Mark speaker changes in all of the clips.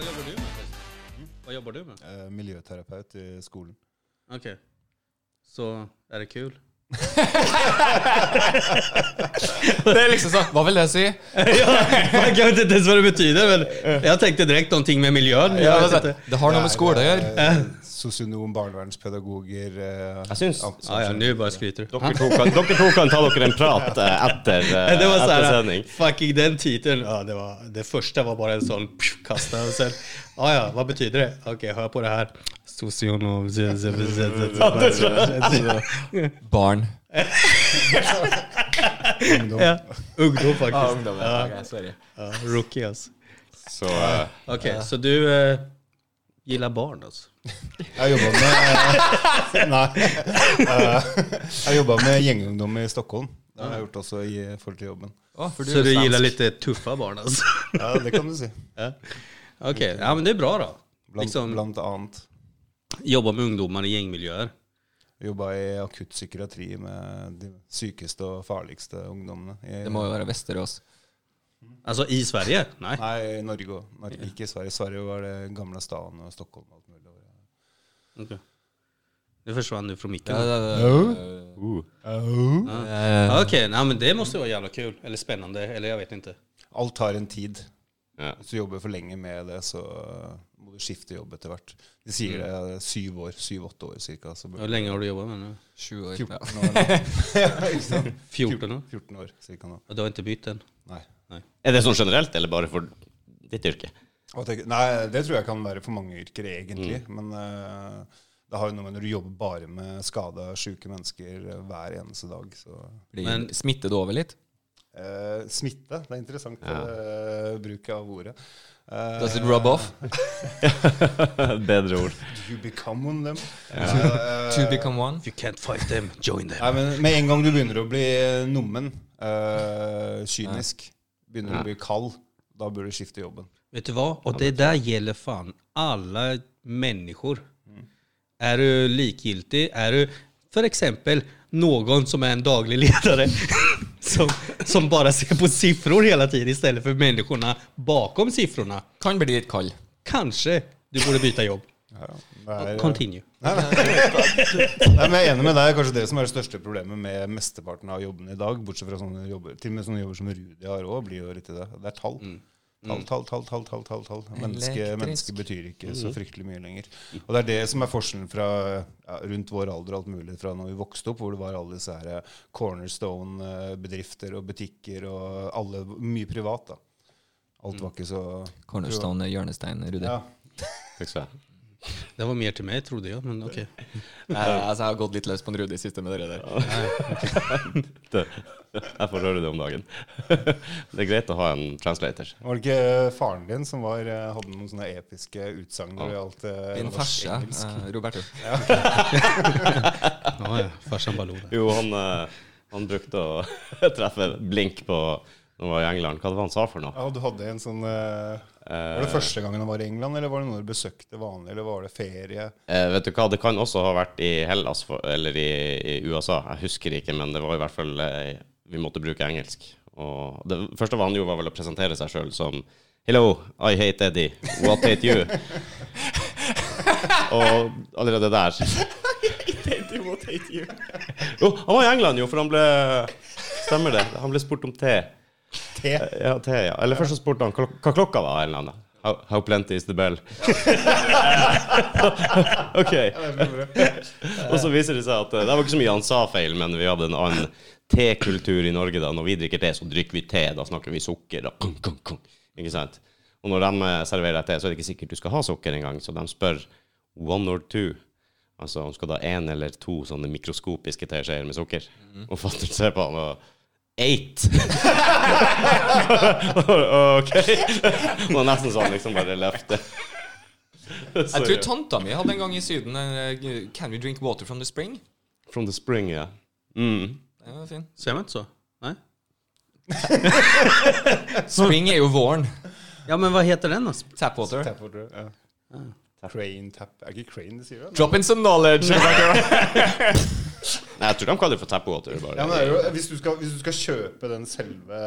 Speaker 1: jobber du med? forresten? Hva jobber du med?
Speaker 2: Eh, miljøterapeut i skolen.
Speaker 1: Ok. Så er det kul?
Speaker 3: Det er liksom sånn Hva vil det si?
Speaker 1: Jeg vet ikke ens hva det betyr, men jeg tenkte direkte om ting med miljøet.
Speaker 3: Ja, det, Altså, det har noe med skole å gjøre.
Speaker 2: eh, Sosionom, barnevernspedagoger eh,
Speaker 4: Jeg syns
Speaker 2: ansatte.
Speaker 1: Ja, ja, nå bare skryter du.
Speaker 4: dere to, kan, dere to kan ta dere en prat eh, etter, eh,
Speaker 1: Det var sånn, så
Speaker 4: etter
Speaker 1: här,
Speaker 4: sending.
Speaker 1: fucking den titeln. Ja, det, var, det första var bara en sånn sån pju, kasta och sen, Ah, ja ja, vad betyder det? Okej, hör på det här. Socionom. z- z- z- z- z-
Speaker 3: Barn.
Speaker 1: Ja, Ungdom faktiskt.
Speaker 3: ungdommen. Ok, sorry.
Speaker 1: Ja, rookie alltså.
Speaker 4: Så eh,
Speaker 1: Okej, så du eh, gillar barn altså? alltså?
Speaker 2: Jeg jobba med Nei. Eh, jeg jobba med gjengungdom i Stockholm. Det har jeg gjort også i forhold til jobben.
Speaker 3: for
Speaker 1: så
Speaker 3: er
Speaker 1: du
Speaker 3: svensk.
Speaker 1: gillar lite tuffa barn alltså?
Speaker 2: Ja, det kan du si.
Speaker 1: ja. Okej, ja men det är bra då.
Speaker 2: Blant,
Speaker 1: Liksom,
Speaker 2: blant annet.
Speaker 1: Jobba med ungdomar i gängmiljöer.
Speaker 2: Jobba i akutt psykiatri med de sykeste og farligste ungdommene. I,
Speaker 3: Det må jo være Vesterås.
Speaker 1: Alltså i Sverige? Nej.
Speaker 2: Nei, i Norge òg. Norge, ikke i Sverige. Sverige var det gamle staden og Stockholm og alt mulig.
Speaker 1: Okej. Nu försvann du från micken.
Speaker 3: Ja, Oh. det,
Speaker 4: uh.
Speaker 3: det,
Speaker 1: Okej, nej, men det måste vara jävla kul. Eller spännande, eller jag vet inte.
Speaker 2: Alt har en tid.
Speaker 4: Ja.
Speaker 2: Hvis du jobber for lenge med det, så eh, må du skifte jobb etter hvert. De sier
Speaker 3: Mm.
Speaker 2: det er syv år, syv-åtte år cirka. Så burde
Speaker 1: Hur länge har du jobbat med det nu?
Speaker 3: 20 år.
Speaker 2: 14
Speaker 3: Ja.
Speaker 2: år. ja, ikke sant?
Speaker 1: 14 år?
Speaker 2: 14 år cirka nå.
Speaker 1: Og du har ikke bytt den?
Speaker 2: Nei.
Speaker 4: Er det sånn generelt, eller bare for ditt yrke?
Speaker 2: Og tenk- nei, det tror jeg kan være for mange yrker egentlig.
Speaker 3: Mm.
Speaker 2: Men eh, det har jo noe med når du jobber bare med skada, sjuke mennesker eh, hver eneste dag. Så
Speaker 3: Blir
Speaker 1: Men-
Speaker 3: smittet over litt?
Speaker 2: eh, Smitte. Det er interessant
Speaker 4: Ja.
Speaker 2: eh, bruk av ordet. Eh,
Speaker 3: Does it Altså, rub off?
Speaker 4: Bedre ord.
Speaker 2: Eh, You become one them. eh,
Speaker 3: To become one?
Speaker 1: If you can't fight them, join them.
Speaker 2: Nei, men Med en gang du begynner å bli nummen, eh, kynisk, begynner å bli kald, da bør du skifte jobben.
Speaker 1: Vet du hva? Og det der gjelder faen alle mennesker. Er du likegyldig? Er du for eksempel noen som er en daglig leder, som, som bare ser på siffror hele tiden i stedet for menneskene bakom siffrene?
Speaker 3: Kan bli litt kald.
Speaker 1: Kanskje du burde bytte jobb.
Speaker 2: Ja, det er,
Speaker 1: Continue.
Speaker 2: Nei, men jeg er enig med deg. Det er Kanskje det som er det største problemet med mesteparten av jobbene i dag. Bortsett fra sånne jobber Til og med sånne jobber som Rudi har òg, blir jo litt i det. Det er tall.
Speaker 3: Mm.
Speaker 2: Tall, tall, tall, tall, tall, tall, tall. Menneske,
Speaker 3: Elektrisk.
Speaker 2: menneske betyr ikke
Speaker 3: Mm.
Speaker 2: så fryktelig mye lenger. Og det er det som er forskjellen fra ja, rundt vår alder og alt mulig fra når vi vokste opp, hvor det var alle disse her eh, cornerstone-bedrifter og butikker og alle Mye privat, da. Alt
Speaker 3: Mm.
Speaker 2: var ikke så
Speaker 3: Cornerstone, hjørnestein, Rudi.
Speaker 2: Ja.
Speaker 4: Fikk jeg.
Speaker 1: Det var mer til meg, trodde jeg, men ok.
Speaker 3: Nei, altså, jeg har gått litt løs på en Rudi siste med dere der.
Speaker 4: Det- Jeg får høre det om dagen. Det er greit å ha en translator.
Speaker 2: Var det ikke faren din som var, eh, hadde noen sånne episke utsagn når det gjaldt eh,
Speaker 3: Din
Speaker 2: norsk
Speaker 3: farse,
Speaker 2: engelsk?
Speaker 3: eh, Roberto.
Speaker 1: Ja, ja. Farsan bare lo der.
Speaker 4: Jo, han, eh, han brukte å treffe blink på når han var i England. Hva var det han sa for noe?
Speaker 2: Ja, du hadde en sånn eh, Var det første gangen han var i England, eller var det når du besøkte vanlig, eller var det ferie?
Speaker 4: Eh, vet du hva, det kan også ha vært i Hellas for, eller i, i USA. Jeg husker ikke, men det var i hvert fall eh, Vi måtte bruke engelsk. Og det første han gjorde, var vel å presentere seg sjøl som Hello, I hate Eddie. What hate you? Og allerede der What hate you? Jo, han var i England, jo, for han ble Stemmer det. Han ble spurt om te. Eh,
Speaker 2: Te?
Speaker 4: Ja, te, ja. Eller først så spurte han klok- hva klokka var, eller noe. How, how plenty is the bell? ok. Og så viser det seg at eh, det var ikke så mye han sa feil, men vi hadde en annen tekultur i Norge da. Når vi drikker te, så drikker vi te. Da snakker vi sukker. Da. Kung, kung, kung. Ikke sant? Og når de eh, serverer deg te, så er det ikke sikkert du skal ha sukker engang. Så de spør one or two. Altså om du skal da én eller to sånne mikroskopiske teskjeer med sukker. Og fatter ser på han og Eight! OK. Det var nesten sånn liksom bare løfte.
Speaker 3: Jeg tror tanta mi hadde en gang i Syden eh, Can we drink water from the spring?
Speaker 4: From the spring, ja. Mm.
Speaker 3: Den var fin.
Speaker 1: Ser man ikke så? Nei?
Speaker 3: Spring er jo våren.
Speaker 1: Ja, men hva heter den, altså?
Speaker 3: Tapwater.
Speaker 2: Tap, tror jeg. Ja. Crane tap Er ikke crane det sier? Det?
Speaker 3: Drop in some knowledge.
Speaker 4: Nei, jeg tror de kaller det for tapwater. Bare.
Speaker 2: Ja, men det er jo, hvis, du skal, hvis du skal kjøpe den selve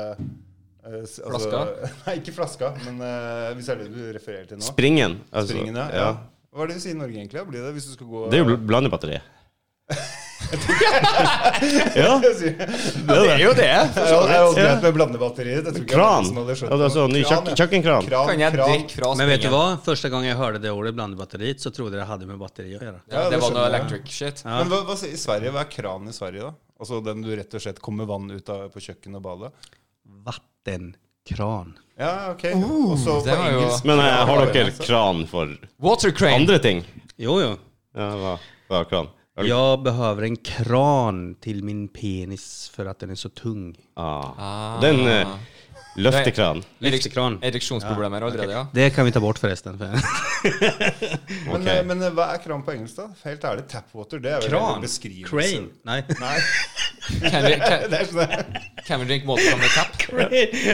Speaker 2: Eh, s-
Speaker 3: Flaska?
Speaker 2: Nei, ikke flaska, men eh, hvis det er det du refererer til nå.
Speaker 4: Springen. altså,
Speaker 2: Springen, ja.
Speaker 4: ja.
Speaker 2: ja. Hva er det vi sier i Norge, egentlig? Blir det hvis du skal gå
Speaker 4: Det er jo bl- blandebatteri. ja, det er jo det.
Speaker 2: Det er jo- det er jo
Speaker 4: Ja.
Speaker 2: greit med blandebatteriet. Jeg tror ikke
Speaker 4: Kran.
Speaker 2: det er noen som hadde skjønt det.
Speaker 4: Altså, ny
Speaker 2: Kran,
Speaker 4: kjøkken-
Speaker 2: ja.
Speaker 4: kjøkkenkran.
Speaker 2: Kran,
Speaker 3: Kan jeg
Speaker 2: kran.
Speaker 3: drikke fra
Speaker 1: Men vet du
Speaker 3: springen?
Speaker 1: hva? Første gang jeg hørte det ordet blandebatteriet, så trodde jeg det hadde med batteri å gjøre.
Speaker 3: Ja,
Speaker 2: Ja,
Speaker 3: det
Speaker 2: det
Speaker 3: var noe
Speaker 2: skjønner jeg.
Speaker 3: electric shit.
Speaker 1: Ja.
Speaker 2: Men hva, hva, sier- i Sverige, hva er kran i Sverige, da? Altså den du rett og slett kommer vann ut av på kjøkkenet og badet?
Speaker 1: Vattenkran.
Speaker 2: Ja, ok. og så på
Speaker 3: det var jo-
Speaker 2: engelsk Altså,
Speaker 4: Men eh, har dere kran for
Speaker 3: Water crane.
Speaker 4: andre ting?
Speaker 1: Jo, jo.
Speaker 4: Ja, hva, hva er kran? Øl?
Speaker 1: Jag behöver en kran till min penis för att den är så tung.
Speaker 4: Ah. Den eh, løftekran.
Speaker 1: Lyftekran.
Speaker 3: Ereksjonsproblemer allerede, ja.
Speaker 1: Det kan vi ta bort förresten. För
Speaker 2: Men,
Speaker 4: Ok.
Speaker 2: eh, men eh, hva er kran på engelsk, da? Helt ærlig, tapwater, det er vel en beskrivelse.
Speaker 1: Crane. Nej.
Speaker 2: Nei,
Speaker 3: Can we, can,
Speaker 2: det er sånn
Speaker 3: can we drink water from the tap?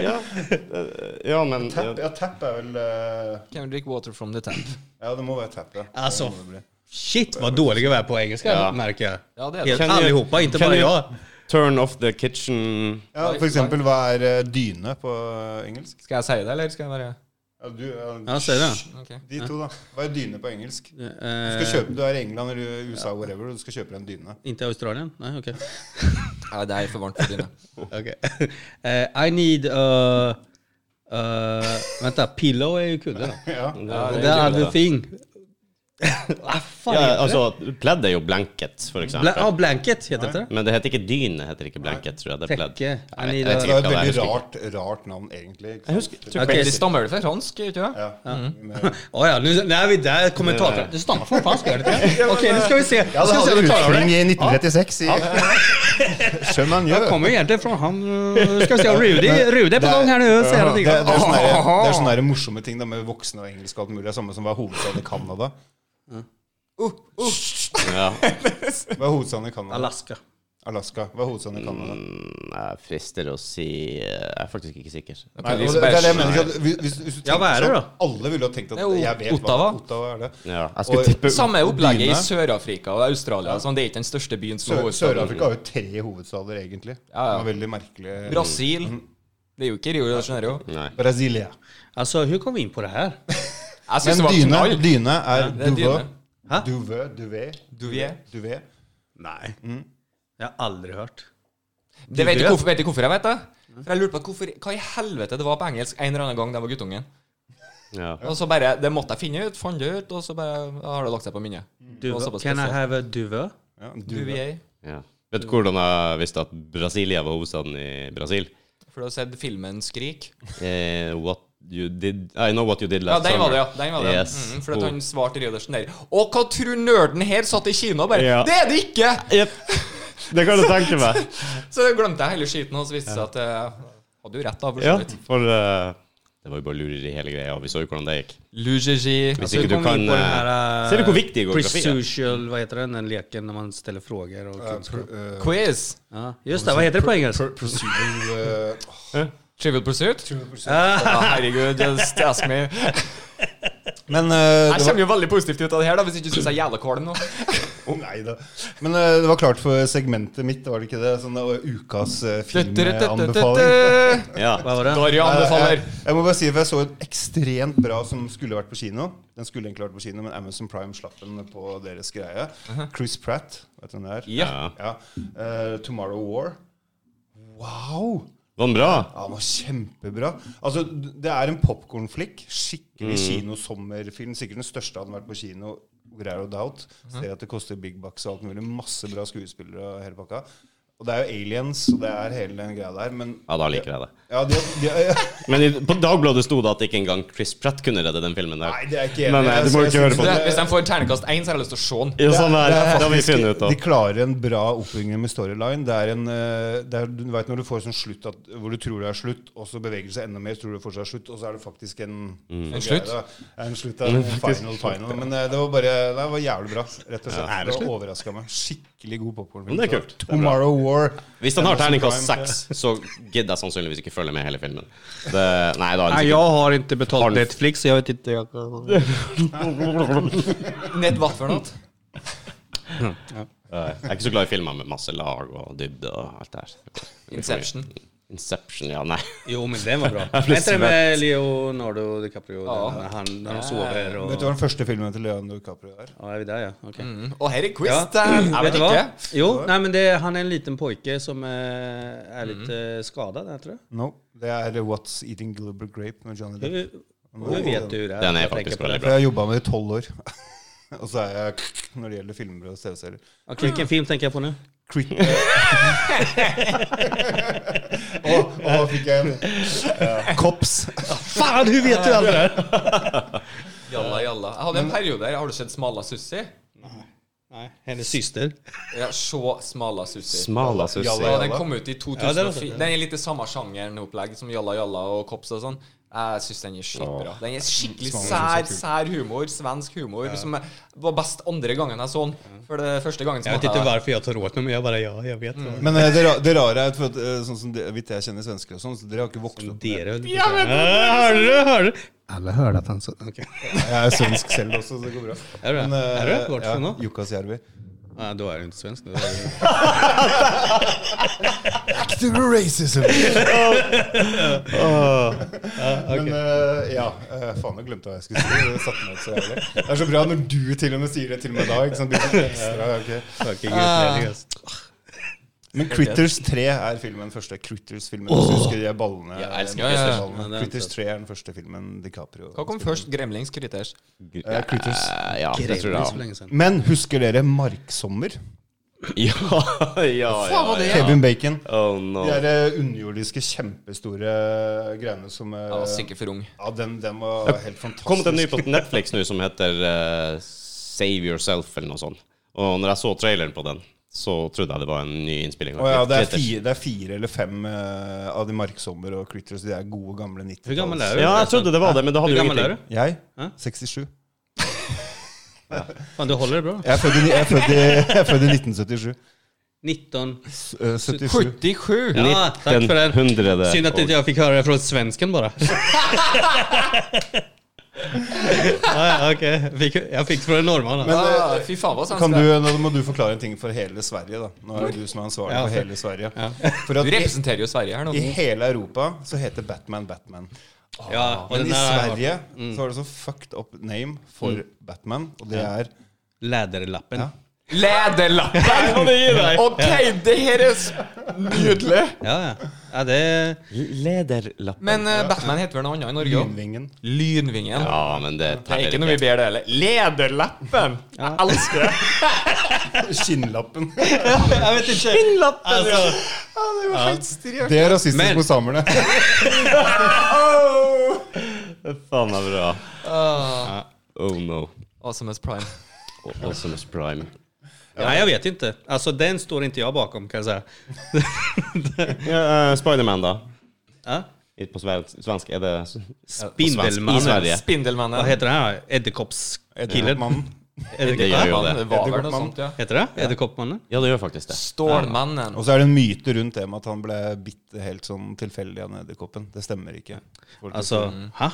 Speaker 4: Ja, eh, ja men
Speaker 2: Tap,
Speaker 4: ja.
Speaker 2: ja, tap er vel eh,
Speaker 3: Can we drink water from the tap?
Speaker 2: Ja, det må være tap, ja.
Speaker 1: Alltså,
Speaker 2: Det må det bli.
Speaker 1: Shit vad dåliga vi är på engelska
Speaker 4: Ja.
Speaker 1: märker jag.
Speaker 3: Ja, det är det.
Speaker 1: Helt,
Speaker 4: Kan ni-
Speaker 1: allihopa, inte
Speaker 4: kan
Speaker 1: bara
Speaker 4: ni-
Speaker 1: jag.
Speaker 4: Turn off the kitchen
Speaker 2: Ja, for eksempel, hva er eh, dyne på eh, engelsk?
Speaker 3: Skal jeg si det, eller skal jeg bare
Speaker 2: Ja, du, ja,
Speaker 1: Ja, säger det.
Speaker 3: Ok.
Speaker 2: De to, da. Hva er dyne på engelsk? Du skal
Speaker 1: Eh,
Speaker 2: kjøpe, du er i England eller USA, whatever, og du skal kjøpe deg en dyne.
Speaker 1: inte Australien? Nej, okej.
Speaker 3: Nei, det er for varmt for dine.
Speaker 1: Okej. Eh, I need a... eh, vänta, pillow är ju kudde då.
Speaker 2: Ja.
Speaker 3: Ja, det
Speaker 1: The
Speaker 3: er
Speaker 1: other
Speaker 3: kul, da.
Speaker 1: thing. ah, fan
Speaker 4: ja,
Speaker 1: heter det?
Speaker 4: Altså, pledd er jo blanket, for
Speaker 1: Bla ja,
Speaker 4: eksempel.
Speaker 1: blanket heter det.
Speaker 4: Men det heter ikke dyne, heter ikke blanket, tror jeg. Det er pledd.
Speaker 1: Tekke.
Speaker 4: Nei,
Speaker 1: I
Speaker 4: jeg
Speaker 1: need
Speaker 4: vet
Speaker 1: a-
Speaker 2: Det
Speaker 4: ikke
Speaker 2: er et
Speaker 4: hva det er, jeg
Speaker 2: veldig
Speaker 4: husker ikke.
Speaker 2: rart, rart navn, egentlig. Ikke sant?
Speaker 4: Jeg husker
Speaker 1: Ok.
Speaker 3: De stammer vel fra fransk, gjør de ikke det?
Speaker 2: Ja.
Speaker 4: Mm.
Speaker 2: Med-
Speaker 1: Oh, ja, nu, nu är vi där, kommentatorn. Det stannar för fan ska jag göra det. Okej,
Speaker 4: eh,
Speaker 1: nu ska vi se. Nu ska vi se om vi klarar det.
Speaker 2: i 1936 i
Speaker 1: Jag kommer egentligen från han... eh, Ska vi se, Rudi, Rudi är på
Speaker 2: Det er-
Speaker 1: gång här nu. och säger någonting.
Speaker 2: Det, det
Speaker 4: sånn
Speaker 2: er sånne, her- det er sånne her morsomme ting da, med voksne og engelsk og alt mulig. Det er samme som hva er hovedstaden i Canada.
Speaker 4: Ja.
Speaker 2: Hva er hovedstaden i Canada?
Speaker 1: Alaska.
Speaker 2: Alaska. Hva er hovedstaden i Canada?
Speaker 4: Mm, Jeg frister å si eh, Jeg er faktisk ikke sikker.
Speaker 2: Nei,
Speaker 3: vi
Speaker 2: og
Speaker 3: som
Speaker 2: det, det er det jeg
Speaker 3: bare-
Speaker 2: mener. ikke at- Hvis, hvis, hvis du
Speaker 1: Ja, hva er det
Speaker 2: sånn, Alle ville ha tenkt at
Speaker 3: Det er jo
Speaker 2: jeg vet
Speaker 3: Ottawa.
Speaker 2: hva Ottawa er. det.
Speaker 4: Ja, jeg
Speaker 2: Og-
Speaker 4: skulle tippe
Speaker 3: Samme opplegget i
Speaker 2: Dyne.
Speaker 3: Sør-Afrika og Australia. Sånn, det er ikke den største byen som er
Speaker 2: Sø-
Speaker 3: hovedstaden.
Speaker 2: Sør-Afrika har jo tre hovedstader, egentlig.
Speaker 3: Ja, ja.
Speaker 2: Det var veldig merkelig.
Speaker 3: Brasil.
Speaker 2: Mhm.
Speaker 3: Det er jo ikke Rio de Janeiro.
Speaker 4: Nei.
Speaker 2: Brasilia.
Speaker 1: Alltså, Altså, hur kom vi in på det här?
Speaker 3: Jeg
Speaker 2: Men
Speaker 3: syns det var
Speaker 2: dyne,
Speaker 3: knall.
Speaker 2: dyne er
Speaker 3: det er
Speaker 2: duvet.
Speaker 3: dyne.
Speaker 1: Hæ?
Speaker 2: Duvet, duvet,
Speaker 3: Duvet.
Speaker 2: duvet. Mm.
Speaker 1: Nej. Jag har aldrig hört.
Speaker 3: Det vet du
Speaker 1: Duvet.
Speaker 3: hvorfor, vet du hvorfor jeg vet det? For jeg lurte på hvorfor, Hva i helvete det var på engelsk en eller annen gang da jeg var guttungen.
Speaker 4: Ja.
Speaker 3: Og så bare, Det måtte jeg finne ut, fant det ut, og så bare har det lagt seg på minnet. Det var
Speaker 1: Duva.
Speaker 3: såpass
Speaker 1: Can I
Speaker 3: spesielt.
Speaker 1: have a duva?
Speaker 2: Ja, duvet.
Speaker 3: Duvier.
Speaker 4: Ja. Vet du hvordan jeg visste at Brasilia var hovedstaden i Brasil?
Speaker 3: For du har sett filmen 'Skrik'?
Speaker 4: Eh, what you did I know what you did
Speaker 3: Ja,
Speaker 4: last
Speaker 3: den var
Speaker 4: summer.
Speaker 3: det, ja. Den var det.
Speaker 4: Yes.
Speaker 3: Mm, for at
Speaker 4: Oh.
Speaker 3: han svarte Rydersen der. Og hva tror nerden her satt i Kina og bare
Speaker 4: Ja.
Speaker 3: Det er det ikke!
Speaker 4: Jep. Det kan du tenke meg.
Speaker 3: Så det glemte jeg hele skiten, og så viste det seg at eh, Hadde jo rett, da, for så
Speaker 4: Ja,
Speaker 3: vidt.
Speaker 4: for eh, det var jo bare lureri hele greia. og Vi så jo hvordan det gikk.
Speaker 3: Lugegi.
Speaker 4: Hvis
Speaker 1: Så kom
Speaker 4: ikke du
Speaker 1: vi
Speaker 4: kan
Speaker 1: in på den
Speaker 4: eh,
Speaker 1: här, eh,
Speaker 4: Ser du hvor viktig geografi er?
Speaker 1: Presocial, vad heter den, den leken när man ställer frågor och kunskap?
Speaker 2: Eh,
Speaker 3: Quiz.
Speaker 1: Ja, just det, vad heter det på engelska?
Speaker 2: Pr- Procedural eh,
Speaker 3: Trivial Pursuit.
Speaker 2: åh, 20%.
Speaker 1: Ah,
Speaker 3: Ja, herregud, just ask me.
Speaker 2: Men eh,
Speaker 3: Jeg
Speaker 2: det var,
Speaker 3: kommer jo veldig positivt ut av det her, da, hvis ikke du syns jeg er jævla kvalm nå.
Speaker 2: Å, nei da. Men eh, det var klart for segmentet mitt, var det ikke det? Sånn eh, ukas eh, filmanbefaling.
Speaker 3: Dorian
Speaker 4: Ja.
Speaker 1: vad var det?
Speaker 3: anbefaler.
Speaker 2: Eh, Jeg må bare si, for jeg så en ekstremt bra som skulle vært på kino. Den skulle egentlig vært på kino, men Amazon Prime slapp den på deres greie. Chris Pratt, vet du hvem det er?
Speaker 3: Ja.
Speaker 2: Ja. Eh, 'Tomorrow War'. Wow!
Speaker 4: Var den bra?
Speaker 2: Ja, den var kjempebra. Altså, d- Det er en popkornflikk. Skikkelig kinosommerfilm. Sikkert den største hadde vært på kino. Without a doubt. Ser at det koster big bucks og alt mulig. Masse bra skuespillere og hele pakka. Og det er jo aliens, og det er hele den greia der, men
Speaker 4: Ja, da liker jeg det.
Speaker 2: ja, de, de, ja,
Speaker 4: Men i, på Dagbladet sto det at ikke engang Chris Pratt kunne redde den filmen der.
Speaker 2: Nei, det er ikke
Speaker 4: Nei, nei, du må ikke høre på
Speaker 3: Det, hvis de får terningkast én, så har jeg lyst til å se den.
Speaker 4: Ja, sånn der,
Speaker 2: Det
Speaker 4: det,
Speaker 2: er
Speaker 4: har vi
Speaker 2: faktisk-
Speaker 4: funnet ut
Speaker 2: De
Speaker 4: av.
Speaker 2: klarer en bra oppbygging med storyline. Det er en, eh, det er, du vet når du får sånn slutt at, hvor du tror det er slutt, og så beveger det seg enda mer, tror du fortsatt er slutt, og så er det faktisk en
Speaker 4: Mm.
Speaker 3: En slutt?
Speaker 2: Ja, en slutt ja, en final, final. Men eh, det var bare nei, det var jævlig bra, rett og slett. det var overraska meg. Skikkelig god popkorn.
Speaker 4: Men det er kult. Det er bra.
Speaker 2: Tomorrow War.
Speaker 4: Hvis den har
Speaker 2: Amazon
Speaker 4: terningkast
Speaker 2: Prime.
Speaker 4: seks, så gidder jeg sannsynligvis ikke følge med hele filmen. Det, nei, da er
Speaker 1: Nej,
Speaker 4: den
Speaker 1: jag har inte betalt
Speaker 4: Har du-
Speaker 1: Netflix, så jag vet inte. Jag...
Speaker 3: Nett hva for noe?
Speaker 4: sikkert- Eh, Jeg er ikke så glad i filmer med masse lag og dybde og alt det her.
Speaker 3: Inception.
Speaker 4: Inception, ja, nei.
Speaker 1: Jo, men den var bra. Är inte det med Leonardo DiCaprio?
Speaker 3: Ja.
Speaker 1: Den, när, han, när de sover
Speaker 2: Vet du hva
Speaker 1: og
Speaker 2: den første filmen til Leonardo DiCaprio er?
Speaker 1: Ja, er vi der, ja? Okej.
Speaker 3: Mm. Og her er quiz!
Speaker 1: Ja.
Speaker 3: Der. Jeg
Speaker 1: Vet
Speaker 3: vet
Speaker 1: du hva?
Speaker 3: ikke.
Speaker 1: Jo, nei, men det, han er en liten pojke som eh, er litt mm. skada, tror jeg.
Speaker 2: No. Det er What's Eating Gilbert Grape med Johnny Depp.
Speaker 1: Hur- Hur vet du hur det
Speaker 4: Den är
Speaker 1: Jag tänker
Speaker 4: faktiskt
Speaker 1: på
Speaker 4: väldigt
Speaker 1: det.
Speaker 2: For jeg har jobba med det i tolv år. Og så er jeg når det gjelder filmer og TV-serier.
Speaker 1: Okej, vilken film tänker jag på nu?
Speaker 2: Crit- Å, å, fikk jeg en ja. Kops.
Speaker 1: Fan, hur vet du allt det där?
Speaker 3: Jalla, jalla. Jeg hadde en periode her. Har du sett Smala Sussi?
Speaker 1: Nej, hennes syster.
Speaker 3: Ja, se Smala Sussi.
Speaker 4: Smala sussi.
Speaker 3: Ja, den kom ut i
Speaker 1: Ja, den har
Speaker 3: 2004.
Speaker 1: sett den.
Speaker 3: den er litt i samme sjangeren opplegg som Jalla Jalla og Kops og sånn. Jeg syns den er skitbra. Den er skikkelig
Speaker 2: Smaken
Speaker 3: sær
Speaker 2: er så kul.
Speaker 3: sær humor, svensk humor, som var best andre gangen jeg så den. For det første gangen
Speaker 1: Jag vet
Speaker 3: smakte
Speaker 1: inte
Speaker 3: jeg
Speaker 1: varför jag tar åt mig, men jag bara ja, jag vet. Mm.
Speaker 2: Men eh, det, ra det rare er for at, eh, sånn som det, vidt jeg kjenner svensker og sånn, så dere har ikke vokst opp med
Speaker 1: Dere, hörde du? Hörde du? Alla hörde att han sa... Okej.
Speaker 2: Jeg er svensk selv også, så det går bra.
Speaker 1: Er du det? Er du
Speaker 2: eh,
Speaker 1: det? Hvor er du fra nå?
Speaker 2: Jukkasjärvi.
Speaker 1: Ja, då är du inte svensk nu.
Speaker 2: Active racism! Men eh, ja eh, Faen, jeg glemte hva jeg skulle si. Det satte meg ut så jævlig. Det er så bra når du til og med sier det til meg da. Ikke sant? Det blir så ekstra, ok.
Speaker 1: Fucking utlänning alltså.
Speaker 2: Men Critters 3 er filmen den første. Critters-filmen. Hvis du husker de ballene?
Speaker 4: Jeg elsker
Speaker 3: Ja, ja, ja.
Speaker 2: ballene.
Speaker 1: Ja, det er
Speaker 2: Critters
Speaker 1: sant.
Speaker 2: 3 er den første filmen DiCaprio
Speaker 3: Hva kom først? Gremlings Critters?
Speaker 2: Eh, Critters.
Speaker 4: Eh, Ja, det tror
Speaker 1: Grevling så
Speaker 4: jeg.
Speaker 1: länge sedan.
Speaker 2: Men husker dere Marksommer?
Speaker 4: Ja, ja, ja.
Speaker 3: var det?
Speaker 4: ja.
Speaker 2: Kevin Bacon.
Speaker 4: Oh no.
Speaker 2: De der eh, underjordiske, kjempestore greiene som eh,
Speaker 3: Jeg var sikkert for ung.
Speaker 2: Ja, den, den var helt fantastisk.
Speaker 4: kom det en ny på Netflix nå som heter eh, Save Yourself eller noe sånt. Og når jeg så traileren på den, så trodde jeg det var en ny innspilling. av
Speaker 2: Å ja, det er,
Speaker 4: Critters.
Speaker 2: fire, det er fire eller fem eh, av de Marksommer og Critters. De er gode, gamle 90-talls.
Speaker 1: Hur gammal är du?
Speaker 4: Ja, jeg trodde det var det, men det
Speaker 1: Hur
Speaker 4: hadde jo
Speaker 1: gammal är du?
Speaker 4: ingenting.
Speaker 2: Jeg?
Speaker 1: Hæ?
Speaker 2: 67.
Speaker 1: Fan, du håller det bra.
Speaker 2: Jeg er født i, ni- jeg er født i, jeg er født i 1977.
Speaker 1: 19.
Speaker 2: S- eh, 77.
Speaker 3: 77!
Speaker 1: Ja, tack för den.
Speaker 4: 1900.
Speaker 1: Synd att inte jag fick höra det från svensken bara. ja, ja, okej. Fick, jeg fikk fra en nordmann.
Speaker 2: Men,
Speaker 1: da.
Speaker 3: Ah, fy faen, hva
Speaker 2: Kan
Speaker 3: svensk
Speaker 2: du,
Speaker 3: det er.
Speaker 2: nå må du forklare en ting for hele Sverige, da. Nå er det du som er ansvarlig
Speaker 1: Ja,
Speaker 2: for
Speaker 1: for-
Speaker 2: hele Sverige. For
Speaker 3: Du
Speaker 2: at i,
Speaker 3: representerer jo Sverige her nå.
Speaker 2: i hele Europa så heter Batman Batman.
Speaker 1: Ja, og
Speaker 2: Men i
Speaker 1: den mm. her-
Speaker 2: Sverige så har det så fucked up name for Batman, og det er
Speaker 1: Læderlappen.
Speaker 2: Ja.
Speaker 3: Læderlappen! OK, det her er s- nydelig!
Speaker 1: Ja, ja. ja det
Speaker 4: Lederlappen.
Speaker 3: Men eh, Batman heter vel noe annet i Norge òg?
Speaker 2: Lynvingen.
Speaker 3: Lynvingen.
Speaker 4: Ja, men det
Speaker 3: Det er
Speaker 4: teller
Speaker 3: ikke noe vi ber det heller. Lederlappen! Jeg elsker det.
Speaker 2: Skinnlappen.
Speaker 1: Jeg vet ikke. Skinnlappen!
Speaker 2: Det er rasistisk
Speaker 1: Men-
Speaker 2: mot samerne.
Speaker 4: Faen meg bra. Oh no.
Speaker 3: Awesomeness Prime.
Speaker 4: Awesomeness Prime.
Speaker 1: Nej, jag vet inte. Alltså den står inte jag bakom kan jag säga.
Speaker 4: Ja, eh, Spiderman, da?
Speaker 1: Ja?
Speaker 4: I- På svensk, svensk er det s-
Speaker 1: Spindelmannen.
Speaker 4: I Sverige.
Speaker 1: Vad
Speaker 3: Spindelmannen.
Speaker 1: heter den här? Eddekoppskillen?
Speaker 2: Edderkoppmannen.
Speaker 4: Det
Speaker 1: Edderkopp-
Speaker 4: gjør jo
Speaker 3: Mannen,
Speaker 4: det.
Speaker 3: det var vel
Speaker 2: Edderkoppmannen.
Speaker 3: noe sånt, ja.
Speaker 1: Heter det? Edderkoppmannen?
Speaker 4: Ja, det gjør faktisk det.
Speaker 3: Stålmannen.
Speaker 2: Og så er det en myte rundt det med at han ble bitt helt sånn tilfeldig av en edderkoppen. Det stemmer ikke. Folk-
Speaker 1: Alltså, ha?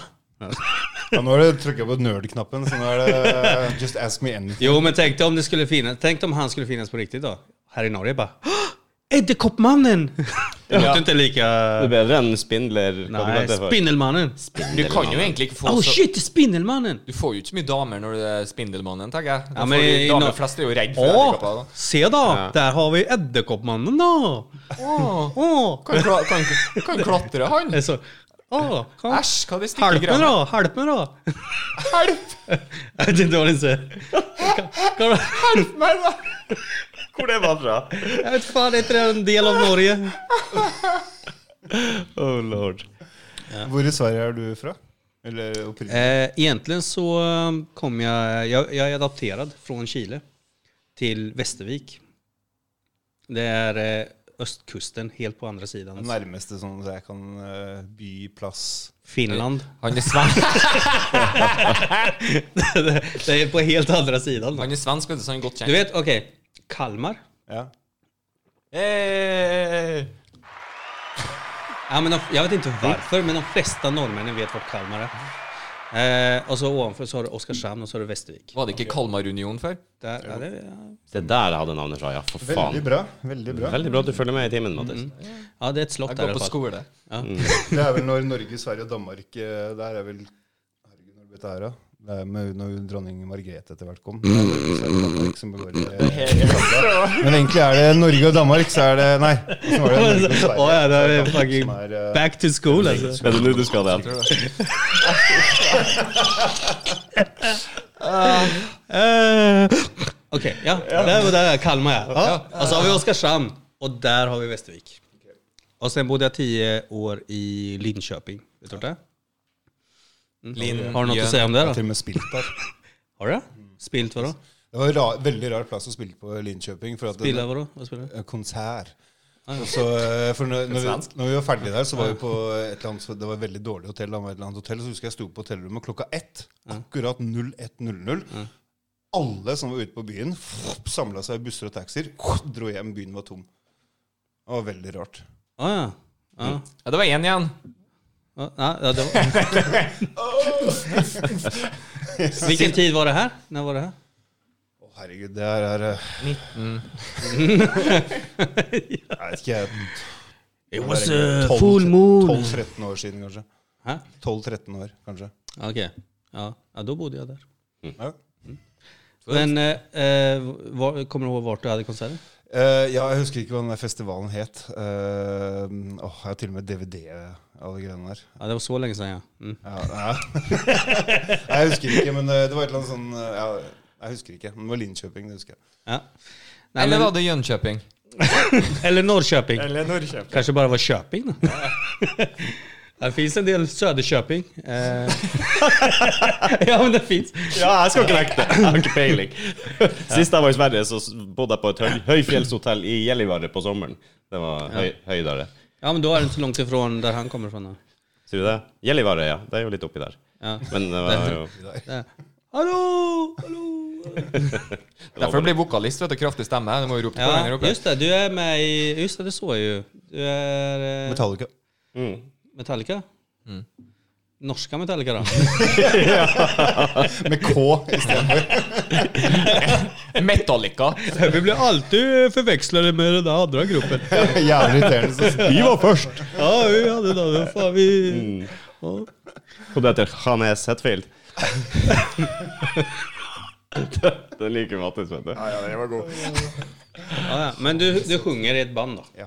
Speaker 2: Ja, nå har du trykka på nerd-knappen, så nå er det eh, Just ask me anything.
Speaker 1: Jo, men tänk dig om det skulle finnas. Tänk om han skulle finnas på riktigt då. Här i Norge bara. "Åh, Edderkoppmannen! Det låter inte lika...
Speaker 4: Det er bedre enn spindler. Hva du
Speaker 1: Nej,
Speaker 4: kalte det for?
Speaker 1: Spindelmannen.
Speaker 3: Du kan jo egentlig ikke få
Speaker 1: Oh
Speaker 3: så
Speaker 1: shit, Spindelmannen!
Speaker 3: Du får jo ikke så mye damer når du er Spindelmannen, tenker jeg. Da
Speaker 1: Ja, men
Speaker 3: får du,
Speaker 1: i-
Speaker 3: damer
Speaker 1: nå-
Speaker 3: flest er jo redd for
Speaker 1: Åh,
Speaker 3: edderkopper.
Speaker 1: se da! Der har vi Edderkoppmannen da!
Speaker 3: Åh,
Speaker 1: Åh!
Speaker 3: Kan, kla- kan, kan klatre, han.
Speaker 1: Det er så- Åh, kom.
Speaker 3: Æsj, hva er det stygge
Speaker 1: Hjelp meg
Speaker 3: greiene?
Speaker 1: da! Hjelp meg da!
Speaker 3: Hjelp!
Speaker 1: Jeg vet ikke hva den sier. Kan- kan-
Speaker 3: Hjelp meg, da!
Speaker 4: Hvor det var fra?
Speaker 1: Jeg vet faen, er ikke det en del av Norge?
Speaker 4: Oh lord.
Speaker 2: Hvor i Sverige er du fra? Eller opprinnelig?
Speaker 1: Eh, egentligen så um, kom jag, jag, jag är adopterad från Chile till Västervik. Det är eh, östkusten, helt på andra sidan.
Speaker 2: Den nærmeste sånn så jeg kan eh, by, plass
Speaker 1: Finland.
Speaker 3: Han er svensk,
Speaker 1: det är på helt andra sidan.
Speaker 3: han er svensk vet du, så han er godt
Speaker 1: Du
Speaker 3: kjent.
Speaker 1: vet, okej, Kalmar.
Speaker 2: Ja.
Speaker 3: Eh,
Speaker 1: Ja, men de, jag vet inte varför, men de flesta norrmännen vet vart Kalmar är. Eh, og så ovenfor så har du Oskarshamn, og så har du Vestervik.
Speaker 3: Var det ikke Kalmarunionen før?
Speaker 1: Der er det, ja.
Speaker 4: Det der jeg hadde navnet fra, ja. For faen.
Speaker 2: Veldig bra. veldig bra.
Speaker 4: Veldig bra Mm, at du følger med i timen, Mattis.
Speaker 1: ja, det er et slott
Speaker 3: Jeg
Speaker 1: der.
Speaker 3: går
Speaker 1: i
Speaker 3: på
Speaker 1: hvert fall.
Speaker 3: skole.
Speaker 2: Det er vel når Norge, Sverige og Danmark eh, Der er vel Herregud, når ble det her, da? Det er med, når dronning Margrethe etter hvert kom. Det er Norge, Sverige og Danmark som begår det. Men egentlig er det Norge og Danmark, så er det Nei. Så var det Norge og Sverige.
Speaker 1: Å ja, det er fucking
Speaker 2: Som er, eh,
Speaker 1: back to school, altså.
Speaker 4: Er det nå du skal det?
Speaker 1: Eh, OK, ja. Der var det Kalmar, ja. ja. Og så har vi Oskarshamn, og der har vi Vestervik. Og sen bodde jeg ti år i Linköping. Vet du hvor det er?
Speaker 3: Linn,
Speaker 1: Har du noe å
Speaker 3: Jøn.
Speaker 1: si om det?
Speaker 2: Jeg har
Speaker 1: da?
Speaker 2: til og med spilt der.
Speaker 1: Har du det? Spilt hva da?
Speaker 2: Det var en ra veldig rar plass å spille på Linköping. For at
Speaker 1: Spilla hva da? Hva spiller du?
Speaker 2: eh, konsert.
Speaker 1: Ah,
Speaker 2: Og så, eh, for når, når, vi, når vi var ferdige der, så var vi på et eller annet så Det var et veldig dårlig hotell. Det var et eller annet hotell Så husker jeg sto på hotellrommet klokka ett. Akkurat 01.00. Alle som var ute på byen, samla seg i busser og taxier, dro hjem. Byen var tom. Det var veldig rart.
Speaker 1: Å ja. Ja.
Speaker 3: Ja, det var én igjen.
Speaker 1: Ja, nei, ja, det var. Hvilken tid var det her? Når var det her?
Speaker 2: Å, herregud, det her er eh, Jeg vet ikke, jeg.
Speaker 1: It
Speaker 2: det
Speaker 1: was
Speaker 2: er
Speaker 1: a
Speaker 2: tolv-
Speaker 1: full moon.
Speaker 2: 12-13 år siden, kanskje.
Speaker 1: Hæ?
Speaker 2: 12-13 år, kanskje.
Speaker 1: Ok. Ja. ja, da bodde jeg der.
Speaker 2: Ja.
Speaker 1: Men eh, eh, var, kommer du ihåg hvor du hadde konserten?
Speaker 2: Eh, ja, jeg husker ikke hva den der festivalen het. Eh, åh, jeg har til og med DVD av de greiene der.
Speaker 1: Ja, det var så lenge siden, ja. Mm.
Speaker 2: Ja, ja. Nei, jeg husker ikke, men eh, det var et eller annet sånn eh, ja, Jeg husker ikke, men det var Linköping, det husker jeg.
Speaker 1: ja. Nei,
Speaker 3: Eller
Speaker 1: men,
Speaker 3: var det Jönköping?
Speaker 1: eller Norrköping.
Speaker 3: Eller Norrköping.
Speaker 1: Kanskje bare var Köping, da. Det fins en del Söderköping. Eh. ja, men det fins.
Speaker 4: Ja, jeg skal ikke nekte. Jeg har ikke peiling. Sist jeg var i Sverige, så s- bodde jeg på et høy, høyfjellshotell i Gällivare på sommeren. Det var høy, høydere.
Speaker 1: Ja, men da er det ikke så langt ifra der han kommer fra. da.
Speaker 4: Sier du det? Gällivare, ja. Det er jo litt oppi der.
Speaker 1: Ja.
Speaker 4: Men det var jo
Speaker 1: Der. Hallo! Hallo!
Speaker 3: Derfor blir vokalist vet du, kraftig stemme. Du må jo rope på den her
Speaker 1: Ja,
Speaker 3: oppe.
Speaker 1: just det. Du är med i... Just det, det såg jag ju. Du är eh,
Speaker 2: Metallica.
Speaker 4: mm.
Speaker 1: Metallica? Mm. Norska Metallica då?
Speaker 2: Med K istedenfor.
Speaker 3: Metallica.
Speaker 1: Vi blir alltid förväxlade med den där andra gruppen.
Speaker 2: Jævlig irriterende. så-
Speaker 4: Vi var først!
Speaker 1: Ja, vi hade den. Vad Fan, vi... Ja.
Speaker 4: Og det heter Janes Hetfield. Den liker Mattis, vet du.
Speaker 1: Ja, ja. Men du, du sjunger i ett band då?
Speaker 2: Ja.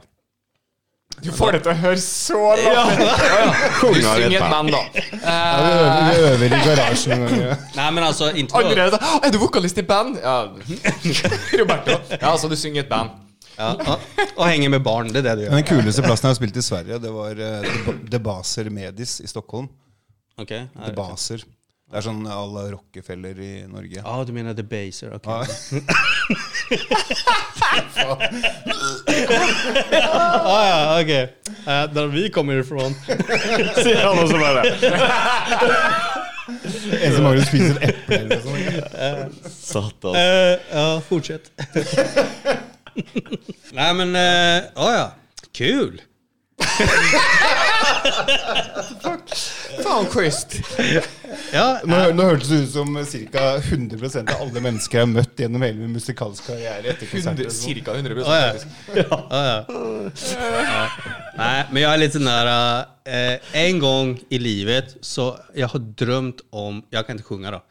Speaker 3: Du får det til å høre så langt Du
Speaker 4: Kongen av
Speaker 3: synger et
Speaker 4: et
Speaker 3: band,
Speaker 4: band.
Speaker 3: da.
Speaker 2: Ja, vi, øver, vi øver i garasjen noen ganger. ja.
Speaker 1: Nej men altså, alltså inte...
Speaker 3: Allerede «Å, Er du vokalist i band? Ja. Roberto. Ja, altså, du synger i et band.
Speaker 1: Ja, ja. Och hänger med barn, det är det du gör.
Speaker 2: Men Den kuleste plassen jeg har spilt i Sverige, det var eh, Deba- Debaser Medis i Stockholm.
Speaker 1: Okej. Ja.
Speaker 2: Debaser. Det er sånn à la Rockefeller i Norge.
Speaker 1: Ja, Ah, du menar The Baser, okej.
Speaker 2: Ja.
Speaker 1: Ja, Ah, ja, okej. Eh, där vi kommer ifrån.
Speaker 4: Sier han også bare.
Speaker 2: En som Magnus spiser et eple eller noe sånt.
Speaker 4: Satan.
Speaker 1: Eh, ja, fortsätt. Nej men, eh, ja ja. Kul!
Speaker 3: Faen, Christ.
Speaker 1: Ja,
Speaker 2: Nå, nå hørtes det ut som ca. 100 av alle mennesker jeg har møtt gjennom hele min musikalske karriere. etter konserter. og sånt.
Speaker 3: Cirka 100
Speaker 1: ja, ja.
Speaker 3: faktisk.
Speaker 1: Ja, ja. Nej, men jag är lite nära. Eh, en gång i livet så jag har drömt om, jag kan inte sjunga då,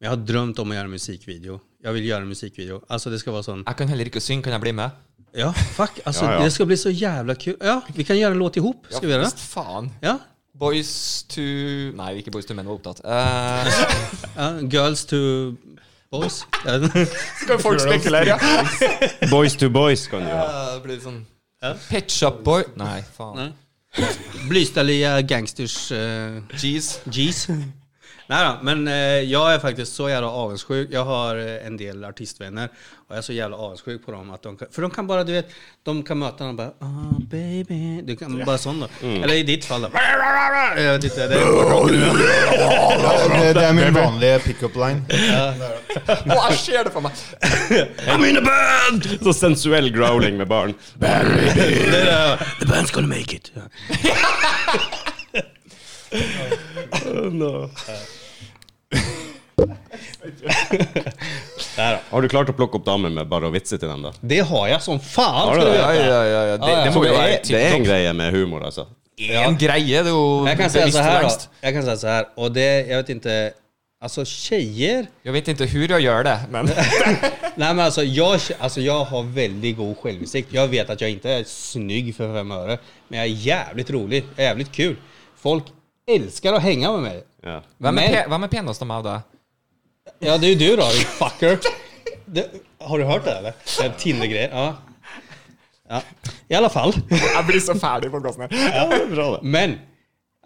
Speaker 1: men jag har drömt om att göra en musikvideo. Jag vill göra en musikvideo. Alltså det ska vara sån,
Speaker 3: Jeg kan heller ikke synge. Kan jeg bli med?
Speaker 1: ja fuck, alltså
Speaker 4: Ja, ja.
Speaker 1: det ska bli så jävla kul. Ja, vi kan göra en låt ihop. Ska vi göra det?
Speaker 3: Visst faen.
Speaker 1: Ja.
Speaker 3: Boys to Nei, ikke Boys to Men var opptatt. Eh,
Speaker 1: ja. Girls to boys. Ja.
Speaker 3: Skal folk spekulere? Ja.
Speaker 4: Boys to boys kan du ha.
Speaker 3: Eh, blir det sånn Pitch up boy Nei, faen.
Speaker 1: Blystaliga gangsters... Eh,
Speaker 3: Jeez.
Speaker 1: Jeez. Nej då, men eh, jag är faktiskt så jävla avundsjuk. Jag har eh, en del artistvänner och jag är så jävla avundsjuk på dem. Att de kan, för de kan bara, du vet, de kan möta någon och bara ah baby. Du kan bara sån då. Eller i ditt fall då. Jag vet inte, det
Speaker 2: Det, det er min vanlige pickup line.
Speaker 3: Å, jeg ser det for meg.
Speaker 4: I'm in a band! Så sensuell growling med barn.
Speaker 1: The band's gonna make it.
Speaker 4: Har du klart å plukke opp damer med bare å vitse til dem, da?
Speaker 1: Det har jeg som faen!
Speaker 4: Har du
Speaker 1: skal du
Speaker 4: det?
Speaker 1: vite.
Speaker 4: Ja,
Speaker 3: ja, ja.
Speaker 1: Det- det må
Speaker 4: Det
Speaker 1: jo
Speaker 4: er, det er en greie med humor, altså.
Speaker 3: En greie, det er jo
Speaker 1: Jag kan
Speaker 3: det
Speaker 1: säga så
Speaker 3: visste
Speaker 1: här då.
Speaker 3: längst.
Speaker 1: Jag kan säga så här. Och det, jag vet altså, inte. Alltså tjejer.
Speaker 3: Jag vet inte hur jag gör det, men
Speaker 1: Nej men alltså jag, alltså jag har väldigt god självinsikt. Jag vet att jag inte är snygg för fem öre. Men jag är jävligt rolig. Jag är jävligt kul. Folk älskar att hänga med mig.
Speaker 4: Ja.
Speaker 3: vem är,
Speaker 1: Men-
Speaker 3: pe- vem är penast av det?
Speaker 1: Ja det är ju du då, din fucker. Det, har du hört det eller? Den Tinder-grejen. Ja. ja. I alla fall.
Speaker 3: Jag blir så färdig på gasen här.
Speaker 4: Ja, det er bra, det.
Speaker 1: Men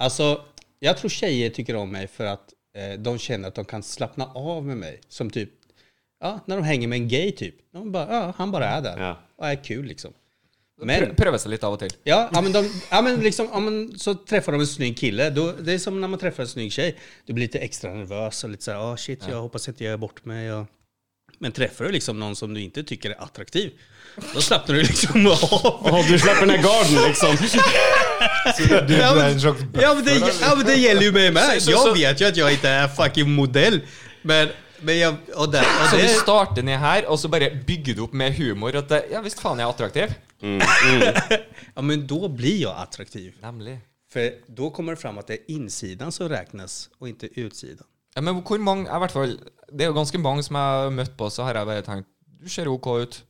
Speaker 1: alltså jag tror tjejer tycker om mig för att eh, de känner att de kan slappna av med mig. Som typ, ja, när de hänger med en gay typ. De bara, ja, han bara är där
Speaker 4: Ja.
Speaker 1: och är kul liksom. Men,
Speaker 3: Pröva sig lite av och till.
Speaker 1: ja, ja, men, de, ja, men liksom, ja, men så träffar de en snygg kille. Då, det är som när man träffar en snygg tjej. Du blir lite extra nervös och lite såhär, ah shit, jag hoppas inte jag gör bort mig. Och, men träffar du liksom någon som du inte tycker är attraktiv, då slappnar du liksom av.
Speaker 4: Å, du slipper ned garden, liksom!
Speaker 2: Du,
Speaker 1: Ja,
Speaker 2: du
Speaker 1: men-
Speaker 2: er en slags
Speaker 1: Ja men, det, ja men det gäller ju mig med.
Speaker 3: Så- så- så-
Speaker 1: Jag vet ju att jag inte är fucking modell. Men, men jag... Och där,
Speaker 3: Så
Speaker 1: och
Speaker 3: du
Speaker 1: det,
Speaker 3: starter ned her, og så bare bygger du opp med humor at eh, Ja visst faen jeg er attraktiv.
Speaker 1: ja men då blir jag attraktiv.
Speaker 3: Nemlig.
Speaker 1: För då kommer det fram att det är insidan som räknas och inte utsidan.
Speaker 3: Ja, men hvor mange jeg i hvert fall, Det er jo ganske mange som jeg har møtt på, så har jeg bare tenkt Du ser OK ut.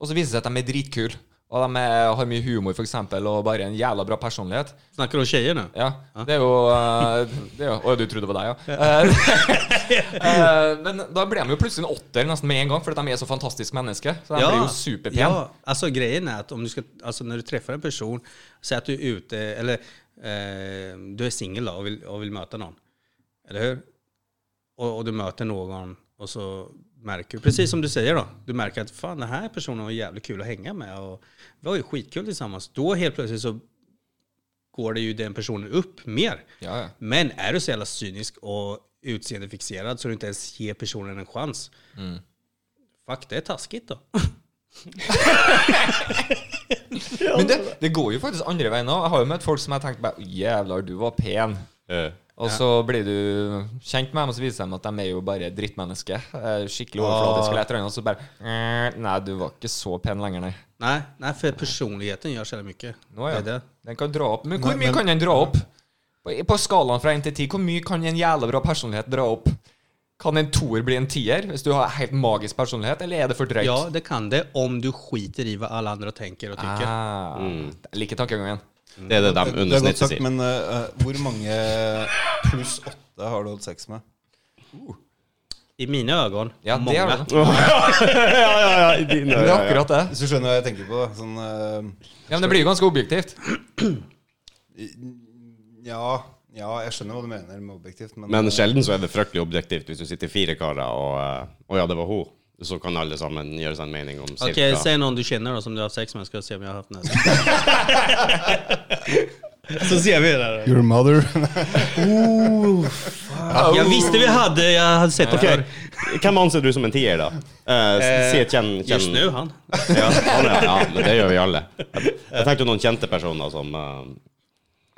Speaker 3: Og så viser det seg at de er dritkule. Og de er, har mye humor, f.eks., og bare en jævla bra personlighet.
Speaker 1: Snackar du om tjejer nu?
Speaker 3: Ja, det er jo eh, det er jo, Å, du trodde det var deg, ja. Eh, men da blir de jo plutselig en åtter nesten med en gang, fordi de er så fantastisk menneske. Så de blir jo superpene.
Speaker 1: Ja, Altså, alltså grejen är att om du ska, alltså när du träffar en person, säg att du är ute, eller eh, du är singel då och vill, och vill möta någon, eller hur? Och, och du möter någon och så märker du, precis som du säger då, du märker att fan den här personen var jävligt kul att hänga med och vi har ju skitkul tillsammans. Då helt plötsligt så går det ju den personen upp mer.
Speaker 3: Ja, ja.
Speaker 1: Men är du så jävla cynisk och utseendefixerad så du inte ens ger personen en chans,
Speaker 3: Mm.
Speaker 1: fuck det är taskigt då.
Speaker 3: Men det, det går jo faktisk andre veien òg. Jeg har jo møtt folk som har tenkt bare Jævlar, du var pen.
Speaker 4: Eh,
Speaker 3: Og så blir du kjent med dem, og så viser det seg at de er jo bare drittmennesker. Eh, Skikkelig overfladiske eller et eller annet, og så bare "Eh, Nei, du var ikke så pen lenger, nei.
Speaker 1: Nej, nej, för personligheten gör så jävla mycket.
Speaker 3: Nå,
Speaker 1: Det
Speaker 3: ja.
Speaker 1: är det.
Speaker 3: Den kan dra opp. Men hvor
Speaker 2: Nei,
Speaker 3: mye
Speaker 2: men-
Speaker 3: kan den dra opp? På, på skalaen fra 1 til 10, hvor mye kan en jævla bra personlighet dra opp? Kan en toer bli en tier hvis du har helt magisk personlighet, eller er det for drøyt?
Speaker 1: Ja, det kan det om du skiter i vad alla andra tänker og tycker.
Speaker 3: ah, Liker tankegangen.
Speaker 4: Det er det de
Speaker 2: Det
Speaker 4: under
Speaker 2: er godt
Speaker 4: snittet
Speaker 2: sagt,
Speaker 4: sier.
Speaker 2: men eh, hvor mange pluss åtte har du hatt sex med?
Speaker 1: I mina ögon,
Speaker 3: Ja, det
Speaker 1: många.
Speaker 3: er det.
Speaker 4: Ja, ja, ja, i dine
Speaker 3: Det er
Speaker 4: øyne, ja.
Speaker 3: akkurat det.
Speaker 2: Hvis du skjønner hva jeg tenker på? da. Sånn eh,
Speaker 3: Ja, men det blir jo ganske objektivt.
Speaker 2: ja, ja, jeg skjønner hva du mener med objektivt, men, eh,
Speaker 4: Men sjelden så er det fryktelig objektivt hvis du sitter fire karer og eh, Å ja, det var hun. Så kan alle sammen gjøre seg en mening om cirka
Speaker 1: Okej, säg någon du känner då som du har haft sex med, ska se om jag har haft någon. så ser vi det där.
Speaker 2: Your mother
Speaker 1: Jag visste vi hade, jag hade sett det förr.
Speaker 4: Hvem anser du som en tier, da? Eh, s- si et kjenn... kjenn-
Speaker 1: Just nu han.
Speaker 4: Ja, han er, ja, men det gjør vi alle. Jeg, jeg tenkte noen kjente personer som eh,